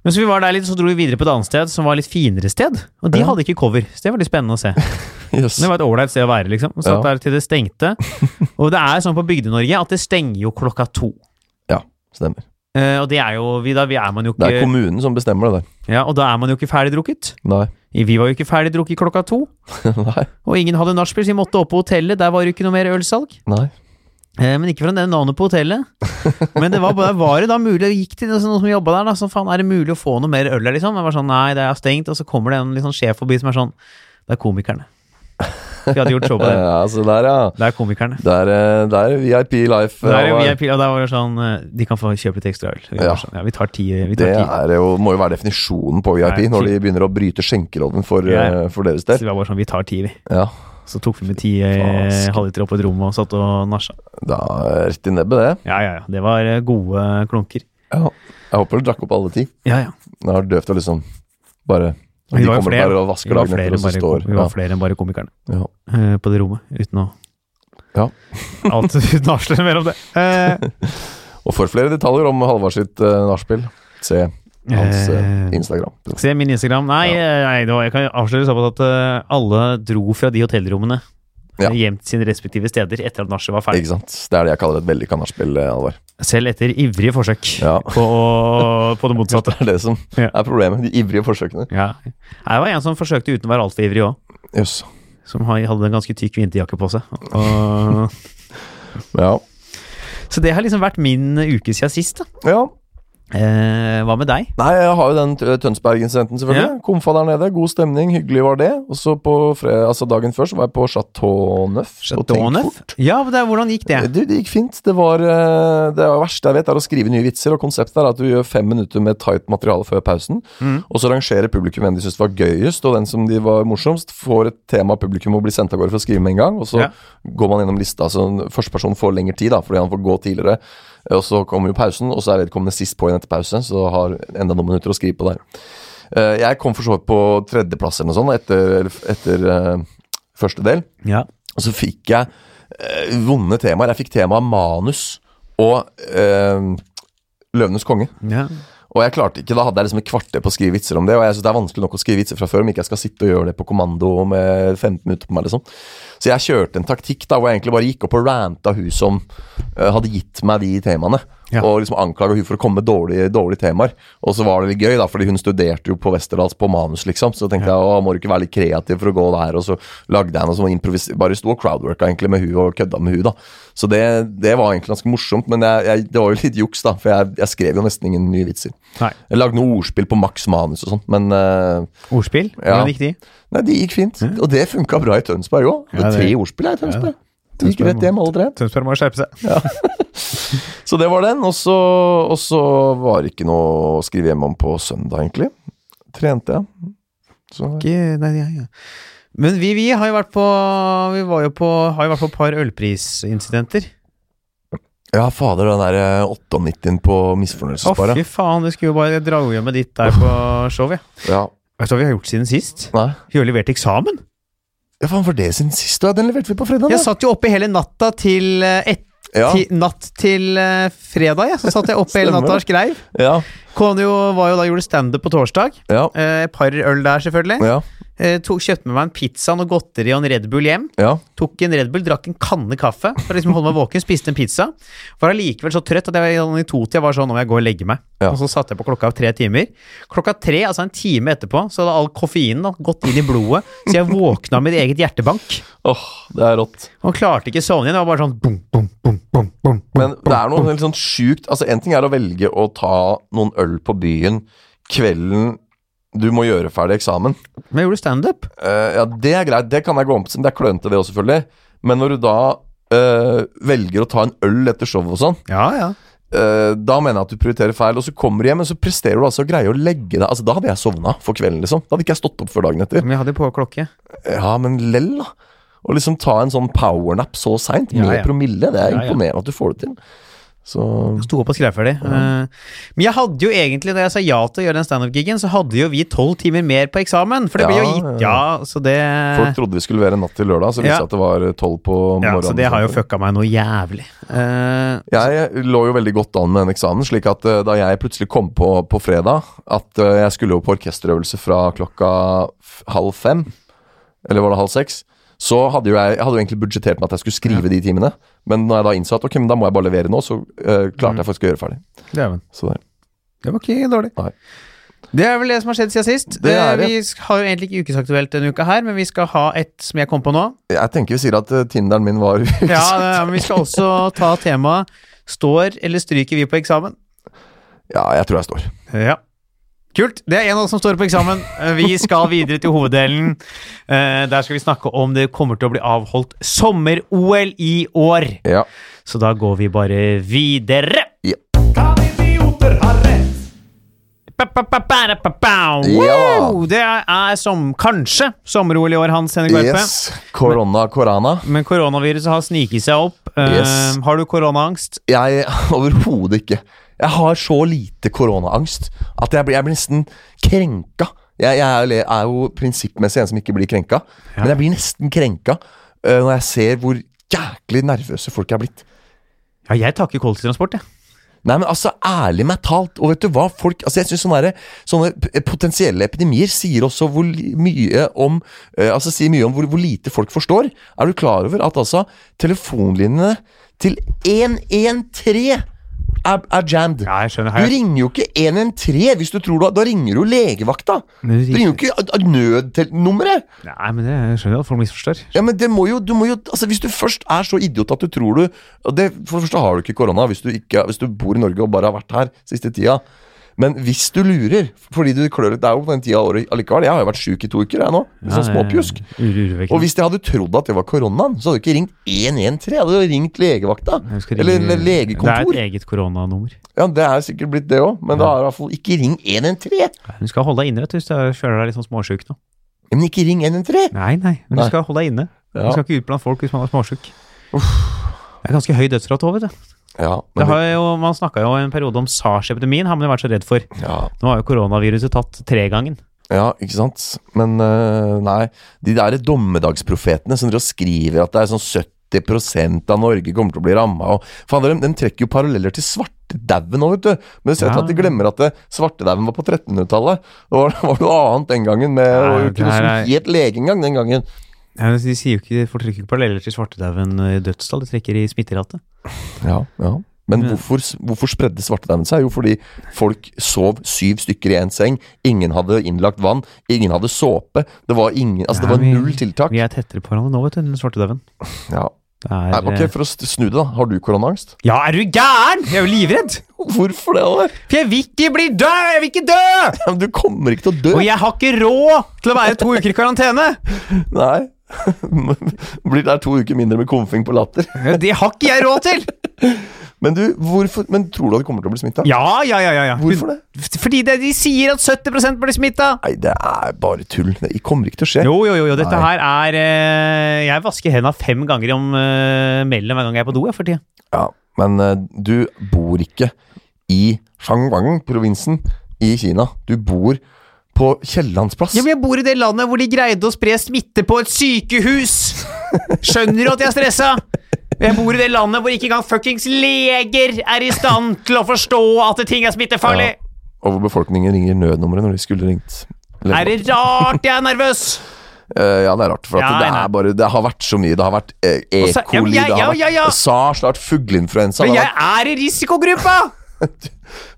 Men så vi var der litt, så dro vi videre på et annet sted som var litt finere sted. Og de Ja. hadde ikke cover, så det var litt spennende å se. yes. Men Det var et ålreit sted å være, liksom. Satt Ja. der til det stengte. Og det er sånn på Bygde-Norge at det stenger jo klokka to. Ja, stemmer. Eh, og det er jo vi, da. Vi er man jo Det er ikke kommunen som bestemmer det der. Ja, og da er man jo ikke ferdigdrukket. Nei. Vi var jo ikke ferdig drukket klokka to, Nei. og ingen hadde nachspiel, så vi måtte opp på hotellet. Der var det jo ikke noe mer ølsalg. Nei. Eh, men ikke for å nevne navnet på hotellet. Men det var, bare- var det da mulig, det gikk til noen som jobba der, da, sånn faen, er det mulig å få noe mer øl her, liksom? Jeg var sånn, nei, det er stengt, og så kommer det en litt sånn sjef forbi som er sånn, det er komikerne. Vi hadde gjort show på det. Ja, så der ja. Det er komikerne. Det er, eh, det er VIP life. eh, Der er jo ja, VIP, og der var det sånn, eh, de kan få kjøpe litt ekstra øl. Vi, Ja. var sånn, ja, vi tar ti. Vi Det tar ti. er jo, må jo være definisjonen på VIP Nei, når de begynner å bryte skjenkeloven for, Ja. eh, for deres Så del. vi var bare sånn, vi tar ti, vi. Ja, Så tok vi med ti eh, Faske. halvliter opp på et rom og satt og nasja. da er rett i nebbet det. Ja, ja, ja. Det var eh, gode klunker. Ja. Jeg håper du drakk opp alle ti. Ja, ja. Det har døvt å liksom bare Vi De var jo kommer flere. bare og Vi vasker var dagen flere enn etter, og så bare, står vi ja. var flere enn bare komikerne Ja. eh, på det rommet, uten å Ja. Alt uten å avsløre mer om det. Eh, Og for flere detaljer om Halvard sitt uh, nachspiel, se hans eh, Eh, Instagram. se min Instagram. Nei, Ja. eh, nei det var, jeg kan avsløre såpass at eh, alle dro fra de hotellrommene Ja. eh, hjem til sine respektive steder etter at nachet var ferdig. Ikke sant? Det er det jeg kaller et vellykka nachspiel, eh, Halvard. Selv etter ivrige forsøk Ja. på, å- på det motsatte. Det er det som Ja. er problemet. De ivrige forsøkene. Ja. Nei, Det var en som forsøkte uten å være altfor ivrig òg. Jøss. som har- hadde en ganske tykk vinterjakke på seg. Og, Ja. så det har liksom vært min uke siden sist. da. ja. Eh, hva med deg? Nei, jeg har jo den Tø- Tønsberg-incidenten, selvfølgelig. Komfa der nede, god stemning, hyggelig var det. Og så på fre altså dagen før så var jeg på Chateau Neuf. på Chateauneuf? Tenkfort. Ja, men det, er- hvordan gikk det? Du, det gikk fint. Det var eh, Det verste jeg vet, er å skrive nye vitser. Og konseptet er at du gjør fem minutter med tight materiale før pausen. Mm. Og så rangerer publikum hvem de syns var gøyest, og den som de var morsomst, får et tema publikum og blir sendt av gårde for å skrive med en gang. Og så Ja. går man gjennom lista, så en- første person får lengre tid, da, fordi han får gå tidligere. Og så kommer jo pausen, og så er vedkommende sist på igjen etter pause, så har enda noen minutter å skrive på der. Eh, Jeg kom for så vidt på tredjeplass eller noe sånt etter, etter eh, første del. Ja. Og så fikk jeg eh, vonde temaer. Jeg fikk temaet manus og eh, Løvenes konge. ja. Og jeg klarte ikke, Da hadde jeg liksom et kvarter på å skrive vitser om det. Og jeg synes det er vanskelig nok å skrive vitser fra før om ikke jeg skal sitte og gjøre det på kommando med 15 minutter på meg. liksom. Så jeg kjørte en taktikk da, hvor jeg egentlig bare gikk opp og ranta hun som eh, hadde gitt meg de temaene. Ja. Og liksom anklaga hun for å komme med dårlige, dårlige temaer. Og så var det litt gøy, da, fordi hun studerte jo på Westerdals på manus, liksom. Så tenkte jeg å, må du ikke være litt kreativ for å gå der? Og så lagde jeg noe som var improvis... Bare sto og crowdworka egentlig med hun og kødda med hun, da. Så det, det var egentlig ganske morsomt, men jeg, jeg, det var jo litt juks, da. For jeg, jeg skrev jo nesten ingen nye vitser. Nei. Jeg lagde noe ordspill på maks manus og sånn, men eh, Ordspill? Ja. Hvordan gikk de? Nei, de gikk fint. Og det funka bra i Tønsberg òg. Ja, det- tre ordspill er i Tønsberg. De gikk Tønsberg rett hjem, alle tre. Tønsberg må skjerpe seg. Så det var den. Og så, og så var det ikke noe å skrive hjem om på søndag, egentlig. Trente jeg. Så, Ikke, nei, ja, ja. Men vi, vi har jo vært på Vi var jo på Har jo vært på et par ølprisincidenter. ja, fader, den der eh, 98-en på Å, misfornøyelsesparet. fy faen, du skulle jo bare dra hjem med ditt der på showet. Ja. ja. Vet du hva vi har gjort siden sist? Nei. Vi har levert eksamen! Ja, faen, for det sin siste, ja. Den leverte vi på fredag. Jeg da. satt jo oppe hele natta til eh, et, Ja, ti, Natt til eh, fredag, jeg. Så satt jeg oppe hele Stemmer natta og det. skreiv. ja, Kone jo var jo da gjorde standup på torsdag. ja, Eh, Et par øl der, selvfølgelig. ja, Eh, tok, kjøpte med meg en pizza, noe godteri og en Red Bull hjem. ja. Tok en Red Bull, drakk en kanne kaffe for å liksom holde meg våken, spiste en pizza. Var allikevel så trøtt at jeg i totida var sånn nå må jeg gå og legge meg. Ja. Og så satte jeg på klokka av tre timer. Klokka tre, altså en time etterpå, så hadde all koffeinen da, gått inn i blodet, så jeg våkna med mitt eget hjertebank. Åh, det er rått. Og klarte ikke å sovne igjen. Det var bare sånn bum, bum, bum, bum, bum. bum. Men det er noe helt sånn sjukt Altså, en ting er å velge å ta noen øl på byen kvelden du må gjøre ferdig eksamen. Men jeg gjorde standup. Eh, ja, det er greit. Det kan jeg gå om til. Det er klønete, det også, selvfølgelig. Men når du da eh, velger å ta en øl etter show og sånn, Ja, ja. eh, da mener jeg at du prioriterer feil. Og så kommer du hjem, og så presterer du altså å greie å legge deg Altså, da hadde jeg sovna for kvelden, liksom. Da hadde ikke jeg stått opp før dagen etter. Men jeg hadde jo på klokke. Ja, men lell, da. Å liksom ta en sånn powernap så seint, med Ja, ja. promille, det Ja, er ja. imponerende at du får det til. Så Sto opp og skrev ferdig. Eh, Men jeg hadde jo egentlig, da jeg sa ja til å gjøre den standup-gigen, så hadde jo vi tolv timer mer på eksamen. For det ble jo Ja, gitt, ja. ja, så det Folk trodde vi skulle være natt til lørdag, så Eh. viste det Ja. seg at det var eh, tolv på morgenen. Ja, så det har jo fucka meg noe jævlig. Eh, Jeg lå jo veldig godt an med den eksamen, slik at eh, da jeg plutselig kom på på fredag at eh, jeg skulle jo på orkesterøvelse fra klokka f- halv fem, eller var det halv seks, så hadde jo jeg, jeg hadde jo egentlig budsjettert med at jeg skulle skrive de timene. Men når jeg da innså at ok, men da må jeg bare levere nå, så eh, klarte Mm. jeg faktisk å gjøre ferdig. Dæven. Så der. Det var ikke dårlig. Nei. Det er vel det som har skjedd siden sist. Det er Eh, det. Vi sk- har jo egentlig ikke ukesaktuelt denne uka her, men vi skal ha et som jeg kom på nå. Jeg tenker vi sier at eh, Tinderen min var Ja, det er- men Vi skal også ta temaet 'Står eller stryker vi på eksamen?' ja, jeg tror jeg står. Ja. Kult. Det er en av oss som står på eksamen. Eh, Vi skal videre til hoveddelen. Eh, Der skal vi snakke om det kommer til å bli avholdt sommer-OL i år. Ja. Så da går vi bare videre. Ja. Ba-ba-ba-ba-da-ba-ba. Ja. Wow! Det er som kanskje sommer-OL i år, Hans Henrik Verpe. Yes. Korona, korana. Men koronaviruset har sniket seg opp. Eh, Yes. har du koronaangst? Jeg overhodet ikke. Jeg har så lite koronaangst at jeg blir, jeg blir nesten krenka. Jeg, jeg er, jo- er jo prinsippmessig en som ikke blir krenka, men jeg blir nesten krenka øh, når jeg ser hvor jæklig nervøse folk er blitt. Ja, jeg takker kollektivtransport, jeg. Nei, men altså, ærlig meg talt, og vet du hva folk Altså, jeg synes sånne, derre- sånne p- eh, potensielle epidemier sier også hvor li- mye om eh, Altså, sier mye om hvor, hvor lite folk forstår. Er du klar over at altså telefonlinjene til 113 er, er jammed. Ja, jeg skjønner. Du ringer jo ikke 113 hvis du tror du har Da ringer du legevakta. Du Men du ringer- ringer jo ikke a- a- nødnummeret. Nei, men det jeg skjønner jeg at folk misforstår. Ja, men det må jo, du må jo altså, Hvis du først er så idiot at du tror du og det, For det første har du ikke korona hvis du, ikke, hvis du bor i Norge og bare har vært her siste tida. Men hvis du lurer, fordi du klør Det er jo på den tida av året allikevel. Jeg har jo vært sjuk i to uker, jeg nå. med Sånn småpjusk. Og Urovekkende. hvis jeg hadde trodd at det var koronaen, så hadde du ikke ringt 113. Jeg hadde jo ringt legevakta. Jeg husker Eller, ringe- eller legekontor. Det er et eget koronanummer. Ja, Det er sikkert blitt det òg, men da er det i hvert fall ikke ring 113. Du skal holde deg inne vet du, hvis du føler deg litt sånn småsjuk nå. Men ikke ring 113. Nei, nei, men du Nei. skal holde deg inne. Ja. Du skal ikke ut blant folk hvis man er småsjuk. Det er ganske høy dødsrate òg, vet du. Ja, Det men, har jo, man snakka jo en periode om SARS-epidemien, har man jo vært så redd for. ja, Nå har jo koronaviruset tatt tregangen. ja, ikke sant? Men øh, nei, de der dommedagsprofetene som driver og skriver at det er sånn 70 av Norge kommer til å bli ramma og Faen, de, de trekker jo paralleller til svartedauden nå, vet du. Men det ser ut til at de Ja. glemmer at det- svartedauden var på 1300-tallet. Det var, var noe annet den gangen. Med, Nei, og jo det ikke noe her som er- het lege engang den gangen. Ja, men De sier jo ikke, folk trekker ikke paralleller til svartedauden i dødstall, de trekker i smitterate. Ja, ja. Men Men- hvorfor, hvorfor spredde svartedauden seg? Jo, fordi folk sov syv stykker i én seng. Ingen hadde innlagt vann. Ingen hadde såpe. Det var, ingen, altså, det Ja, var vi- null tiltak. Vi er tettere på hverandre nå, vet du, enn svartedauden. Ja. Det er, eh, Nei, ok, For å st- snu det, da. Har du koronaangst? Ja, er du gæren?! Jeg er jo livredd! Hvorfor det? Aller? For jeg vil ikke bli død! Jeg vil ikke dø! Ja, men du kommer ikke til å dø! Og jeg har ikke råd til å være to uker i karantene! Nei. Blir det er to uker mindre med komfing på latter. Det har ikke jeg råd til! Men du, hvorfor, men tror du at du kommer til å bli smitta? Ja, ja, ja, ja, ja. Hvorfor det? Fordi det, de sier at 70 blir smitta! Nei, det er bare tull. Det kommer ikke til å skje. Jo, jo, jo, jo, dette Nei. her er eh, Jeg vasker hendene fem ganger om eh, mellom hver gang jeg er på do, jeg, for tida. Ja, men eh, du bor ikke i Shangwang-provinsen i Kina. Du bor på Kiellandsplass. Ja, men jeg bor i det landet hvor de greide å spre smitte på et sykehus! Skjønner du at jeg er stressa? Jeg bor i det landet hvor ikke engang fuckings leger er i stand til å forstå at ting er smittefarlig! Ja, Og hvor befolkningen ringer nødnummeret når de skulle ringt. Eller- Er det rart jeg er nervøs? Eh, ja, det er rart. For at Ja, det, nei. er bare, det har vært så mye. Det har vært eh, E. Og så- ja, men coli, jeg- det har ja, ja, ja. vært SARS, det har vært fugleinfluensa. det Men har jeg er i risikogruppa!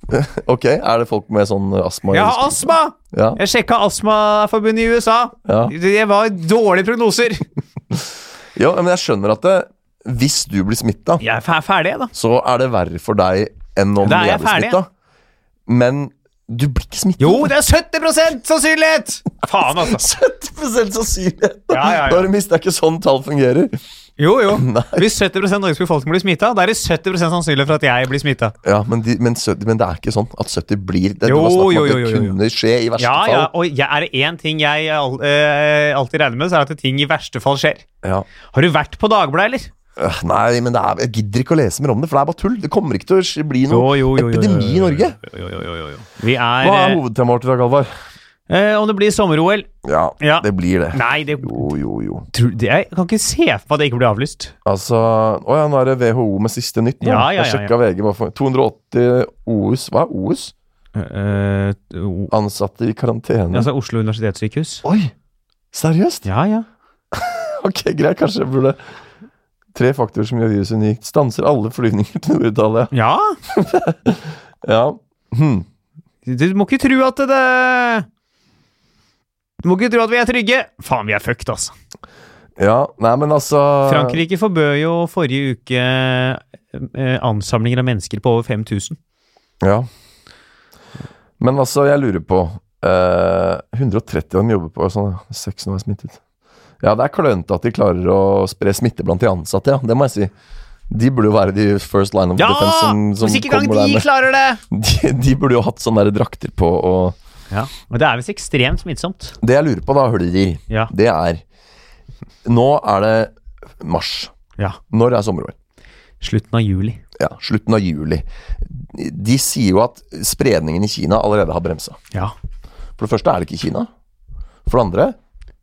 vært- Ok, er det folk med sånn astma? Jeg har astma! Ja, Jeg sjekka Astmaforbundet i USA. ja. Det var dårlige prognoser. ja, men jeg skjønner at det, hvis du blir smitta, Jeg er fe- ferdig, jeg, da. så er det verre for deg enn om Da er jeg jeg blir ferdig. smitta. Men du blir ikke smitta. Jo, det er 70 sannsynlighet! Faen, altså. 70 sannsynlighet! Ja, ja, ja. Da har du mista ikke sånn tall fungerer. Jo, jo. Hvis 70 av Norges befolkning blir smitta, da er det 70 sannsynlighet for at jeg blir smitta. Ja, men, de, men, sø- men det er ikke sånn at 70 blir det. det Jo, var snakk om jo, at jo, det jo, jo. kunne skje i verste Ja, ja, fall. og jeg, er det én ting jeg al- eh, alltid regner med, så er det at ting i verste fall skjer. Ja. Har du vært på Dagbladet, eller? Øh, Nei, men det er, jeg gidder ikke å lese mer om det, for det er bare tull. Det kommer ikke til å sk- bli Jo, noe jo, jo, jo, jo, epidemi i jo, jo, Norge. Jo, jo, jo, jo, jo. Vi er, Hva er hovedtemaet vårt i dag, Alvar? eh, Om det blir sommer-OL? Ja, Ja. det blir det. Nei, det, Jo, jo, jo. tror, det Jeg kan ikke se for meg at det ikke blir avlyst. Altså Å ja, nå er det WHO med siste nytt. Nå. Ja, ja, ja, jeg ja. sjekka VG. hva for- 280 OUS Hva er OUS? Eh, o- Ansatte i karantene. altså Oslo universitetssykehus? Oi! Seriøst? Ja, ja. Ok, greit, kanskje jeg burde Tre faktorer som gjør viruset unikt. Stanser alle flyvninger til Nord-Italia. Ja? Ja. Hm. Du må ikke tro at det Du må ikke tro at vi er trygge. Faen, vi er fucked, altså. ja. Nei, men altså Frankrike forbød jo forrige uke eh, ansamlinger av mennesker på over 5000. Ja. Men altså, jeg lurer på eh, 130 av dem jobber på sånn, ja. Seks nå er smittet. Ja, det er klønete at de klarer å spre smitte blant de ansatte, ja. Det må jeg si. De burde jo være de first line of Ja! defense som, som Hvis ikke engang kommer der de med klarer det! de, de burde jo hatt sånne der drakter på og Ja, Og det er visst ekstremt smittsomt. Det jeg lurer på da, Hølleri, Ja. det er Nå er det mars. ja. Når er sommer-OL? Slutten av juli. Ja, slutten av juli. De sier jo at spredningen i Kina allerede har bremsa. Ja. For det første er det ikke i Kina. For det andre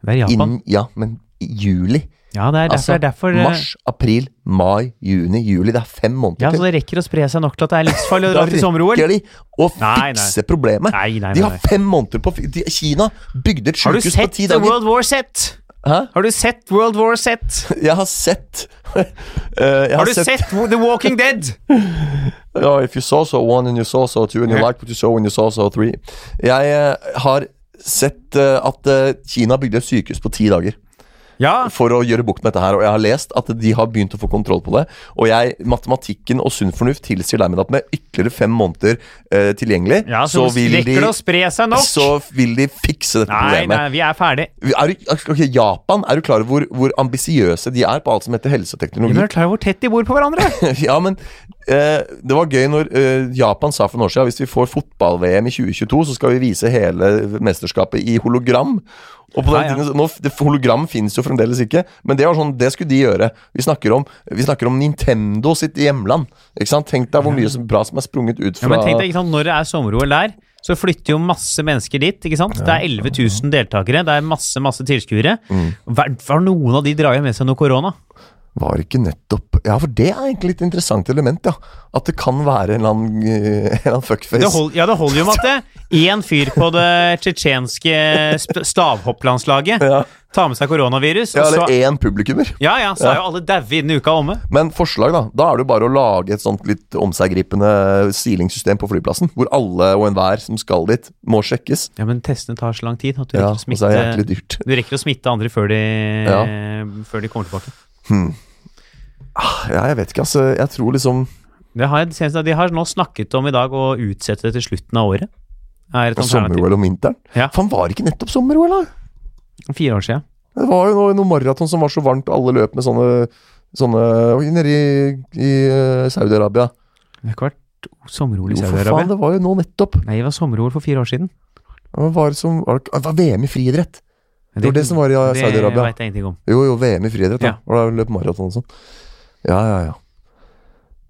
Det er Japan. innen, Ja, men i juli. Ja, det er derfor, Altså det er derfor eh, mars, april, mai, juni, juli. Det er fem måneder Ja, Så til. det rekker å spre seg nok til at det er livsfarlig å Da dra til sommer-OL? rekker de å Nei, nei. fikse problemet. Nei, nei, nei, de har nei. fem måneder på å fi- de, Kina bygde et Har du sykehus på sett ti The dager. World War Set? Hæ? Har du sett World War Z? Jeg har sett Eh, jeg Har du sett The Walking Dead? Ja, if you saw so one and you saw so two and you Ja. liked what you saw and you saw so three Jeg eh, har sett eh, at eh, Kina bygde et sykehus på ti dager Ja. for å gjøre bukt med dette her, og jeg har lest at de har begynt å få kontroll på det. Og jeg, matematikken og sunn fornuft tilsier dermed at med ytterligere fem måneder eh, tilgjengelig, ja så, rekker det å spre seg nok? så vil de fikse dette Nei, problemet. nei, vi er ferdig. Er du, ok, Japan, er du klar over hvor, hvor ambisiøse de er på alt som heter Vi helseteknologi? er klar over hvor tett de bor på hverandre. ja, men eh, det var gøy når eh, Japan sa for noen år siden hvis vi får fotball-VM i 2022, så skal vi vise hele mesterskapet i hologram. Og på den Ja, ja. tiden, så- nå, det, hologram finnes jo fremdeles ikke, men det var sånn, det skulle de gjøre. Vi snakker om, vi snakker om Nintendo sitt hjemland. Ikke sant? Tenk deg hvor mye som bra som er sprunget Ja, ut fra men tenk deg, ikke sant, Når det er sommer-OL der, så flytter jo masse mennesker dit. ikke sant? Det er 11 000 deltakere, det er masse masse tilskuere. Mm. Hver- hver Noen av de drar jo med seg noe korona. Var ikke nettopp Ja, for det er egentlig et interessant element, ja. At det kan være en eller annen, eh, en eller annen Det fuckface. hold, ja, det holder jo med at det én fyr på det tsjetsjenske st- stavhopplandslaget Ja. tar med seg koronavirus. ja, Og eller så, én publikummer. ja, ja, så er jo alle daue innen uka er omme. Men forslag, da. Da er det jo bare å lage et sånt litt omseggripende sealingssystem på flyplassen. Hvor alle og enhver som skal dit, må sjekkes. Ja, Men testene tar så lang tid at du Ja, rekker, og å, så er det jæklig smitte, dyrt. du rekker å smitte andre før de, Ja. før de kommer tilbake. Ja, jeg vet ikke, altså. Jeg tror liksom Det har jeg, det seneste- de har nå snakket om i dag å utsette det til slutten av året. Er et alternativ. sommer-OL om vinteren. Ja. Faen, var det ikke nettopp sommer-OL, da? Fire år siden. Det var jo noe, noe maraton som var så varmt, og alle løp med sånne Sånne Oi, Nede i, i eh, Saudi-Arabia. Det har ikke vært sommer-OL i Jo, for faen, Saudi-Arabia. det var jo nå nettopp. Nei, det var sommer-OL for fire år siden. Hva var det som var, det ikke- det var VM i friidrett. Det var det som var i eh, Det Saudi-Arabia. vet jeg ingenting om. Jo, jo, VM i friidrett, da. Ja. Og da løp maraton og sånn. Ja, ja, ja.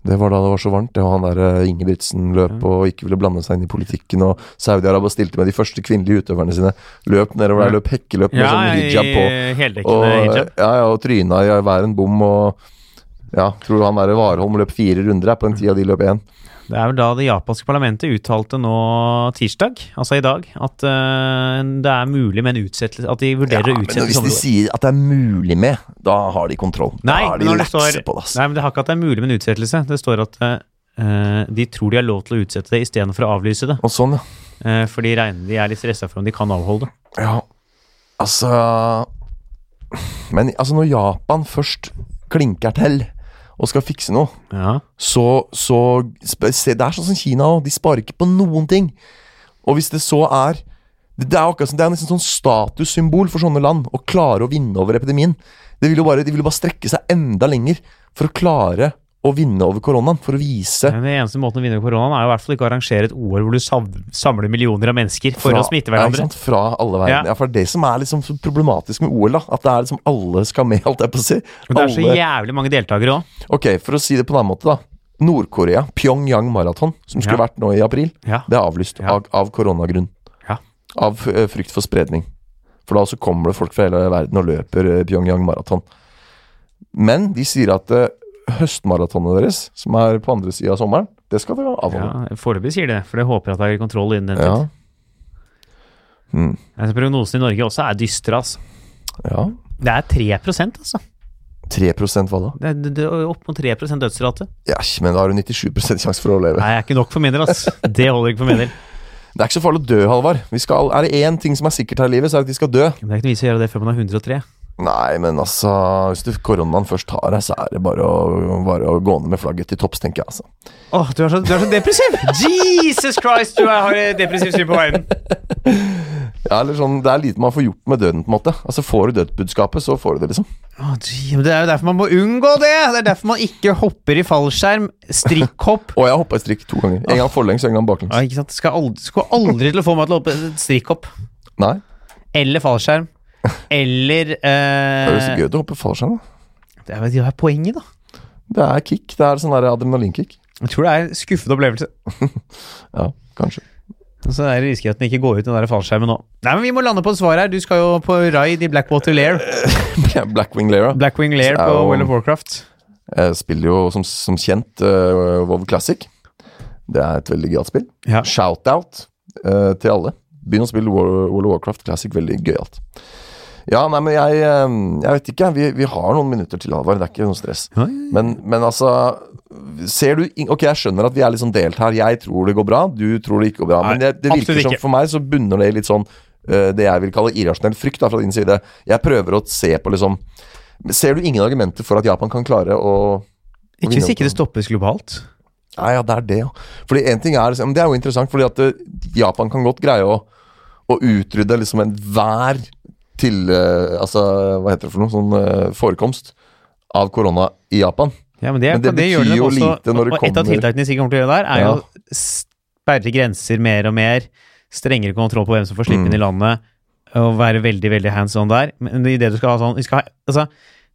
Det var da det var så varmt. Det var han der eh, Ingebrigtsen løp og ikke ville blande seg inn i politikken. Og Saudi-Arabia stilte med de første kvinnelige utøverne sine. Løp nedover der, løp hekkeløp med Ja, sånn hijab på. i Og, heldekkende eh, hijab. ja, ja, og tryna i hver en bom og ja, tror du han der Warholm løp fire runder her på den tida de løp én? Det er vel da det japanske parlamentet uttalte nå tirsdag, altså i dag, at eh, det er mulig med en utsettelse At de vurderer å men utsette hvis de sommer-OL. sier at det er mulig med, da har de kontroll. Nei, da har men de når det står, lakse på det. ass. nei, men det har ikke at det er mulig med en utsettelse. Det står at eh, de tror de har lov til å utsette det istedenfor å avlyse det. Og sånn, ja. Eh, for de regner de er litt stressa for om de kan avholde det. Ja, altså Men altså når Japan først klinker til og skal fikse noe, Ja. så, så sp- se, Det er sånn som Kina òg. De sparer ikke på noen ting. Og hvis det så er Det, det er akkurat som, det er nesten sånn statussymbol for sånne land å klare å vinne over epidemien. Det vil jo bare, de vil jo bare strekke seg enda lenger for å klare å vinne over koronaen. For å vise Men den eneste måten å vinne koronaen er jo i hvert fall ikke å arrangere et OL hvor du sav samler millioner av mennesker for å smitte Ja, hverandre. ikke sant? Fra alle verden. Ja. Ja. for det er det som er liksom så problematisk med OL, da. At det er liksom alle skal med, holdt jeg på å si. Og det er så Alle- jævlig mange deltakere òg. Ok, for å si det på en annen måte, da. Nord-Korea, Pyongyang maraton, som skulle Ja. vært nå i april, Ja. det er avlyst Ja. av, av koronagrunn. Ja. Av eh, frykt for spredning. For da så kommer det folk fra hele verden og løper eh, Pyongyang maraton. Men de sier at eh, høstmaratonet deres, som er på andre sida av sommeren, det skal dere Ja, avholde. Foreløpig sier de det, for de håper at det er kontroll innen den Ja. tid. Mm. Altså, prognosen i Norge også er dystre, altså. ja. Det er 3 altså. 3 hva da? Det er, det det er opp mot 3 dødsrate. Ja, men da har du 97 sjanse for å overleve. Nei, det er ikke nok for min del, altså. Det holder ikke for min del. Det er ikke så farlig å dø, Halvard. Vi skal, er det én ting som er sikkert her i livet, så er det at vi skal dø. Men det er ikke noe vits i å gjøre det før man er 103. Nei, men altså Hvis du koronaen først tar deg, så er det bare å, bare å gå ned med flagget til topps, tenker jeg. altså Åh, du, er så, du er så depressiv! Jesus Christ, du er- har et depressivt syn på verden. ja, eller sånn, Det er lite man får gjort med døden, på en måte. Altså Får du dødsbudskapet, så får du det, liksom. Åh, gee, men det er jo derfor man må unngå det! Det er derfor man ikke hopper i fallskjerm, strikkhopp. Og jeg hoppa i strikk to ganger. En gang forlengs og en gang baklengs. Ja, ikke sant? Skal aldri, skulle aldri til å få meg til å hoppe strikkhopp. Nei, Eller fallskjerm. Eller Det er jo så eh, gøy å hoppe fallskjerm. da. Det er jo poenget, da. Det er kick. Det er sånn der adrenalinkick. Jeg tror det er en skuffende opplevelse. Ja, kanskje. Og Så er det risikerer at den ikke går ut den der fallskjermen nå. Nei, men vi må lande på et svar her. Du skal jo på raid i Blackwater Lair. Blackwing Lera. Blackwing Lair Det er på jo- World of Warcraft. Jeg spiller jo som, som kjent eh, WoW Classic. Det er et veldig gøyalt spill. Ja. Shout-out eh, til alle. Begynn å spille War- World of Warcraft Classic. Veldig gøyalt. Ja, nei, men jeg, eh, jeg vet ikke. Vi, vi har noen minutter til, Halvard. Det er ikke noe stress. Ja, ja, ja. Men, men altså Ser du ing- Ok, jeg skjønner at vi er litt sånn delt her. Jeg tror det går bra, du tror det ikke går bra. Nei, men det, det virker absolutt som ikke. for meg så bunner det i litt sånn eh, det jeg vil kalle irrasjonell frykt da, fra din side. Jeg prøver å se på liksom Ser du ingen argumenter for at Japan kan klare å Ikke hvis ikke det stoppes globalt. Nei, ja, det er det, ja. Fordi en ting er, liksom- men Det er jo interessant, fordi at eh, Japan kan godt greie å, å utrydde liksom enhver til eh, Altså, hva heter det for noe? Sånn eh, forekomst av korona i Japan. Ja, men det, Men det kan- gjør betyr nok jo også- lite når det og et av kommer- tiltakene de sikkert kommer til å gjøre der, er jo å sperre grenser mer og mer, strengere kontroll på hvem som får slippe inn i Mm. landet, og være veldig, veldig hands on der. Men i det du skal ha sånn vi skal ha, altså,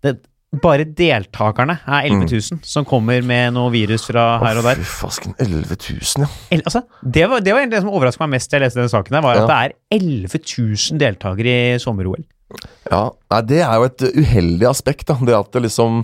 det, Bare deltakerne er 11 000 som kommer med noe virus fra her og der. Mm. Å, Fy fasken, 11 000, ja. El, altså, det, var, det var egentlig det som overrasket meg mest da jeg leste denne saken, her, var at det er 11 000 deltakere i sommer-OL. ja. Nei, det er jo et eh, uheldig aspekt, da. Det at det liksom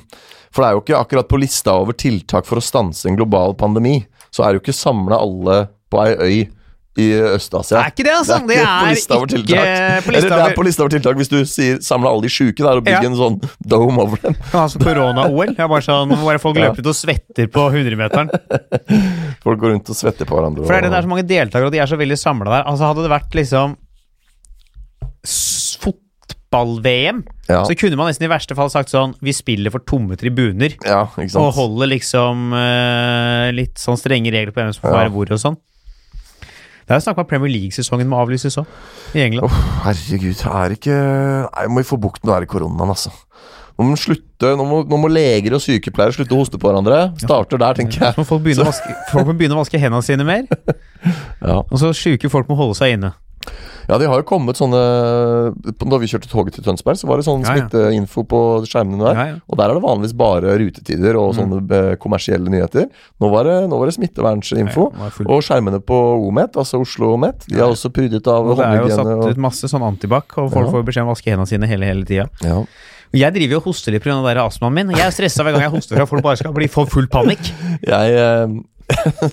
For det er jo ikke akkurat på lista over tiltak for å stanse en global pandemi, så er det jo ikke samla alle på ei øy i Øst-Asia. Det er ikke det, altså. Det er ikke Det på er lista over ikke tiltak. på lista Eller det over- er på lista over tiltak hvis du sier 'samla alle de sjuke' der og Ja. bygg en sånn dome over dem. Kan ha som korona-OL. Det er altså, bare sånn, hvor bare folk løper ut og svetter på 100-meteren. Folk går rundt og svetter på hverandre. For det er det og- det er så mange deltakere, og de er så veldig samla der. Altså Hadde det vært liksom s- fotball-VM, Ja. så kunne man nesten i verste fall sagt sånn Vi spiller for tomme tribuner. ja, ikke sant. Og holder liksom eh, litt sånn strenge regler på hvem som får Ja. være hvor og sånn. Det er jo snakk om at Premier League-sesongen må avlyses òg, i England. Åh, herregud, er det ikke Nei, må vi få bukt med den der koronaen, altså. Nå må, vi slutte, nå, må, nå må leger og sykepleiere slutte å hoste på hverandre. Starter der, tenker Så jeg. må folk, begynne å vaske, folk må begynne å vaske hendene sine mer, Ja. og så sjuke folk må holde seg inne. Ja, de har jo kommet sånne Da vi kjørte toget til Tønsberg, så var det sånn Ja, ja. smitteinfo på skjermene Ja, der. Mm. ja. Og der er det vanligvis bare rutetider og sånne eh, kommersielle nyheter. Nå var det, nå var det smittevernsinfo. Ja, ja, det var fullt. og skjermene på OMET, altså Oslo OMET, de er også prydet av Og det er jo satt håndhygiene. Og, ut masse sånn antibac, og folk Ja. får beskjed om å vaske hendene sine hele, hele tida. ja. Og Jeg driver jo og hoster litt pga. astmaen min. Jeg er stressa hver gang jeg hoster for at folk bare skal bli for full panikk. Jeg eh,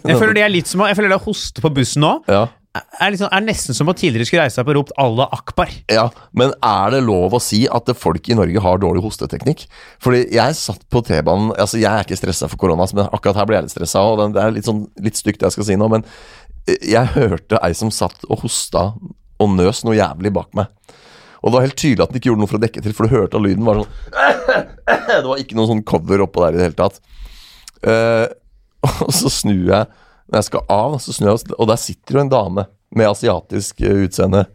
Jeg føler det er litt som å, jeg føler det å hoste på bussen nå Ja. er, liksom, er nesten som å tidligere skulle reise seg opp og ropt 'Allah akbar'. Ja, men er det lov å si at det- folk i Norge har dårlig hosteteknikk? Fordi jeg satt på T-banen Altså, jeg er ikke stressa for korona, men akkurat her ble jeg litt stressa. Og den- det er litt, sånn, litt stygt det jeg skal si nå, men eh, jeg hørte ei som satt og hosta og nøs noe jævlig bak meg. Og det var helt tydelig at den ikke gjorde noe for å dekke til, for du hørte at lyden var sånn Det var ikke noe sånn cover oppå der i det hele tatt. Eh, og så snur jeg Når jeg skal av, så snur jeg, oss- og der sitter jo en dame med asiatisk eh, utseende.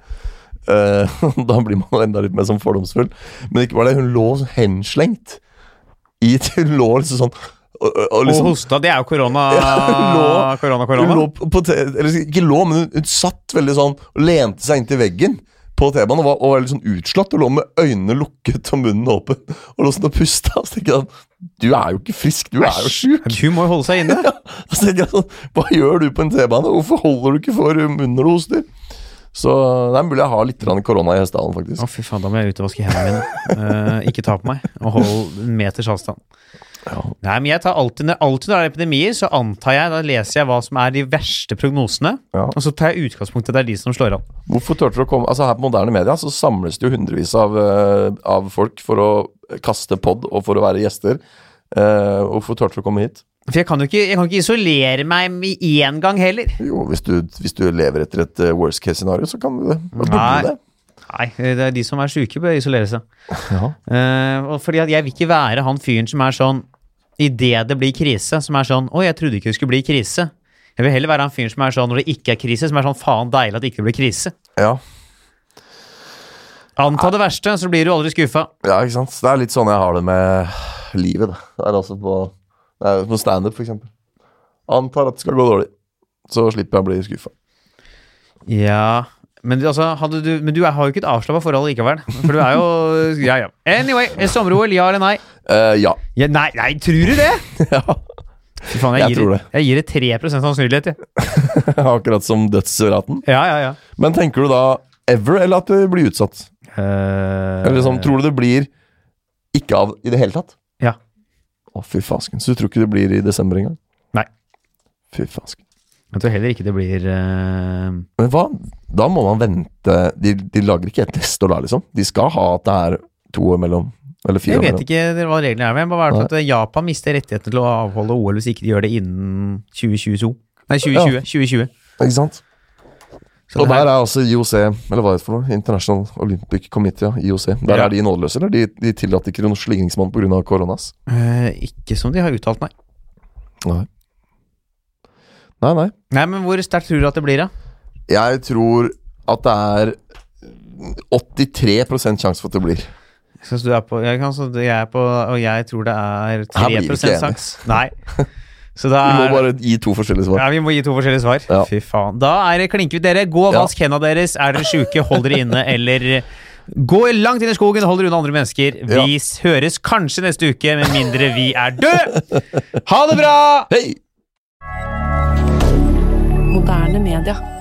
Eh, da blir man enda litt mer sånn fordomsfull. Men ikke bare det, hun lå sånn henslengt. I, hun lå liksom sånn og, og, og Og liksom, hosta, det er jo korona, Ja, lå- korona, hun korona. lå på, på te- eller ikke lå, men hun, hun satt veldig sånn og lente seg inntil veggen på T-banen og var, og var litt sånn utslått og lå med øynene lukket og munnen åpen og lå sånn og pusta. Og så tenkte jeg sånn Du er jo ikke frisk, du er jo sjuk. Hun må jo holde seg inne. Og så tenkte jeg sånn Hva gjør du på en T-bane? Hvorfor holder du ikke for munnen når du hoster? Så det er mulig jeg har litt grann korona i hestehalen, faktisk. Å, fy faen, da må jeg ut og vaske hendene mine. Eh, ikke ta på meg, og hold en meters avstand. Ja. Nei, men jeg tar alltid, når- alltid når det er epidemier, så antar jeg, da leser jeg hva som er de verste prognosene, Ja. og så tar jeg utgangspunktet det er de som slår an. Hvorfor turte du å komme Altså Her på moderne media så samles det jo hundrevis av, eh, av folk for å kaste pod og for å være gjester. Eh, hvorfor turte du å komme hit? For jeg kan jo ikke, jeg kan ikke isolere meg med én gang heller. Jo, hvis du, hvis du lever etter et eh, worst case-scenario, så kan du det. Da burde Nei. du det. Nei, det er de som er syke bør isolere seg. Ja. Eh, og fordi at jeg vil ikke være han fyren som er sånn Idet det blir krise, som er sånn Å, jeg trodde ikke det skulle bli krise. Jeg vil heller være han fyren som er sånn når det ikke er krise, som er sånn faen deilig at det ikke blir krise. Ja. Anta det verste, så blir du aldri skuffa. ja, ikke sant. Det er litt sånn jeg har det med livet. Da. Det er altså på, det er på standup, f.eks. Antar at det skal gå dårlig. Så slipper jeg å bli skuffa. Ja. Men, du- altså, hadde du, men du er- har jo ikke et avslappa forhold likevel. For du er jo Ja, ja. Anyway, sommer-OL, ja eller nei? Eh, ja. Ja, nei, nei, tror du det? ja. Fy faen, jeg, Jeg gir, tror det. jeg gir det 3 sannsynlighet, jeg. Akkurat som dødsraten. Ja, ja, ja. Men tenker du da ever, eller at det blir utsatt? Eller Eh. sånn, tror du det blir ikke av i det hele tatt? Ja. Å, fy fasken. Så du tror ikke det blir i desember engang? Nei. Fy fasken. Jeg tror heller ikke det blir eh, Men hva, Da må man vente De, de lager ikke et neste år da, liksom. De skal ha at det er to år mellom, eller fire Jeg år vet mellom. ikke hva reglene er, men bare hvert fall at Japan mister rettighetene til å avholde OL hvis ikke de gjør det innen 2022. Nei, 2020. 2020. Ikke sant? Så det og der her- er altså IOC, eller hva er det for noe? International Olympic Committee, ja, IOC. Der Ja. er de nådeløse, eller? De, de tillater ikke noen slingringsmonn pga. koronas. Eh, ikke som de har uttalt, nei. Nei. Nei, nei. Nei, men hvor sterkt tror du at det blir, da? Jeg tror at det er 83 sjanse for at det blir. Syns du er på jeg, kan, så jeg er på Og jeg tror det er Her blir vi ikke 3 enige. saks. Nei. Så da Vi må er bare gi to forskjellige svar. Ja, vi må gi to forskjellige svar. Ja. Fy faen. Da er det klinke ut, dere. Gå og Ja. vask hendene deres. Er dere sjuke, hold dere inne, eller Gå langt inn i skogen, hold dere unna andre mennesker. Vi s- høres kanskje neste uke, med mindre vi er døde! Ha det bra! Hei! Moderne media.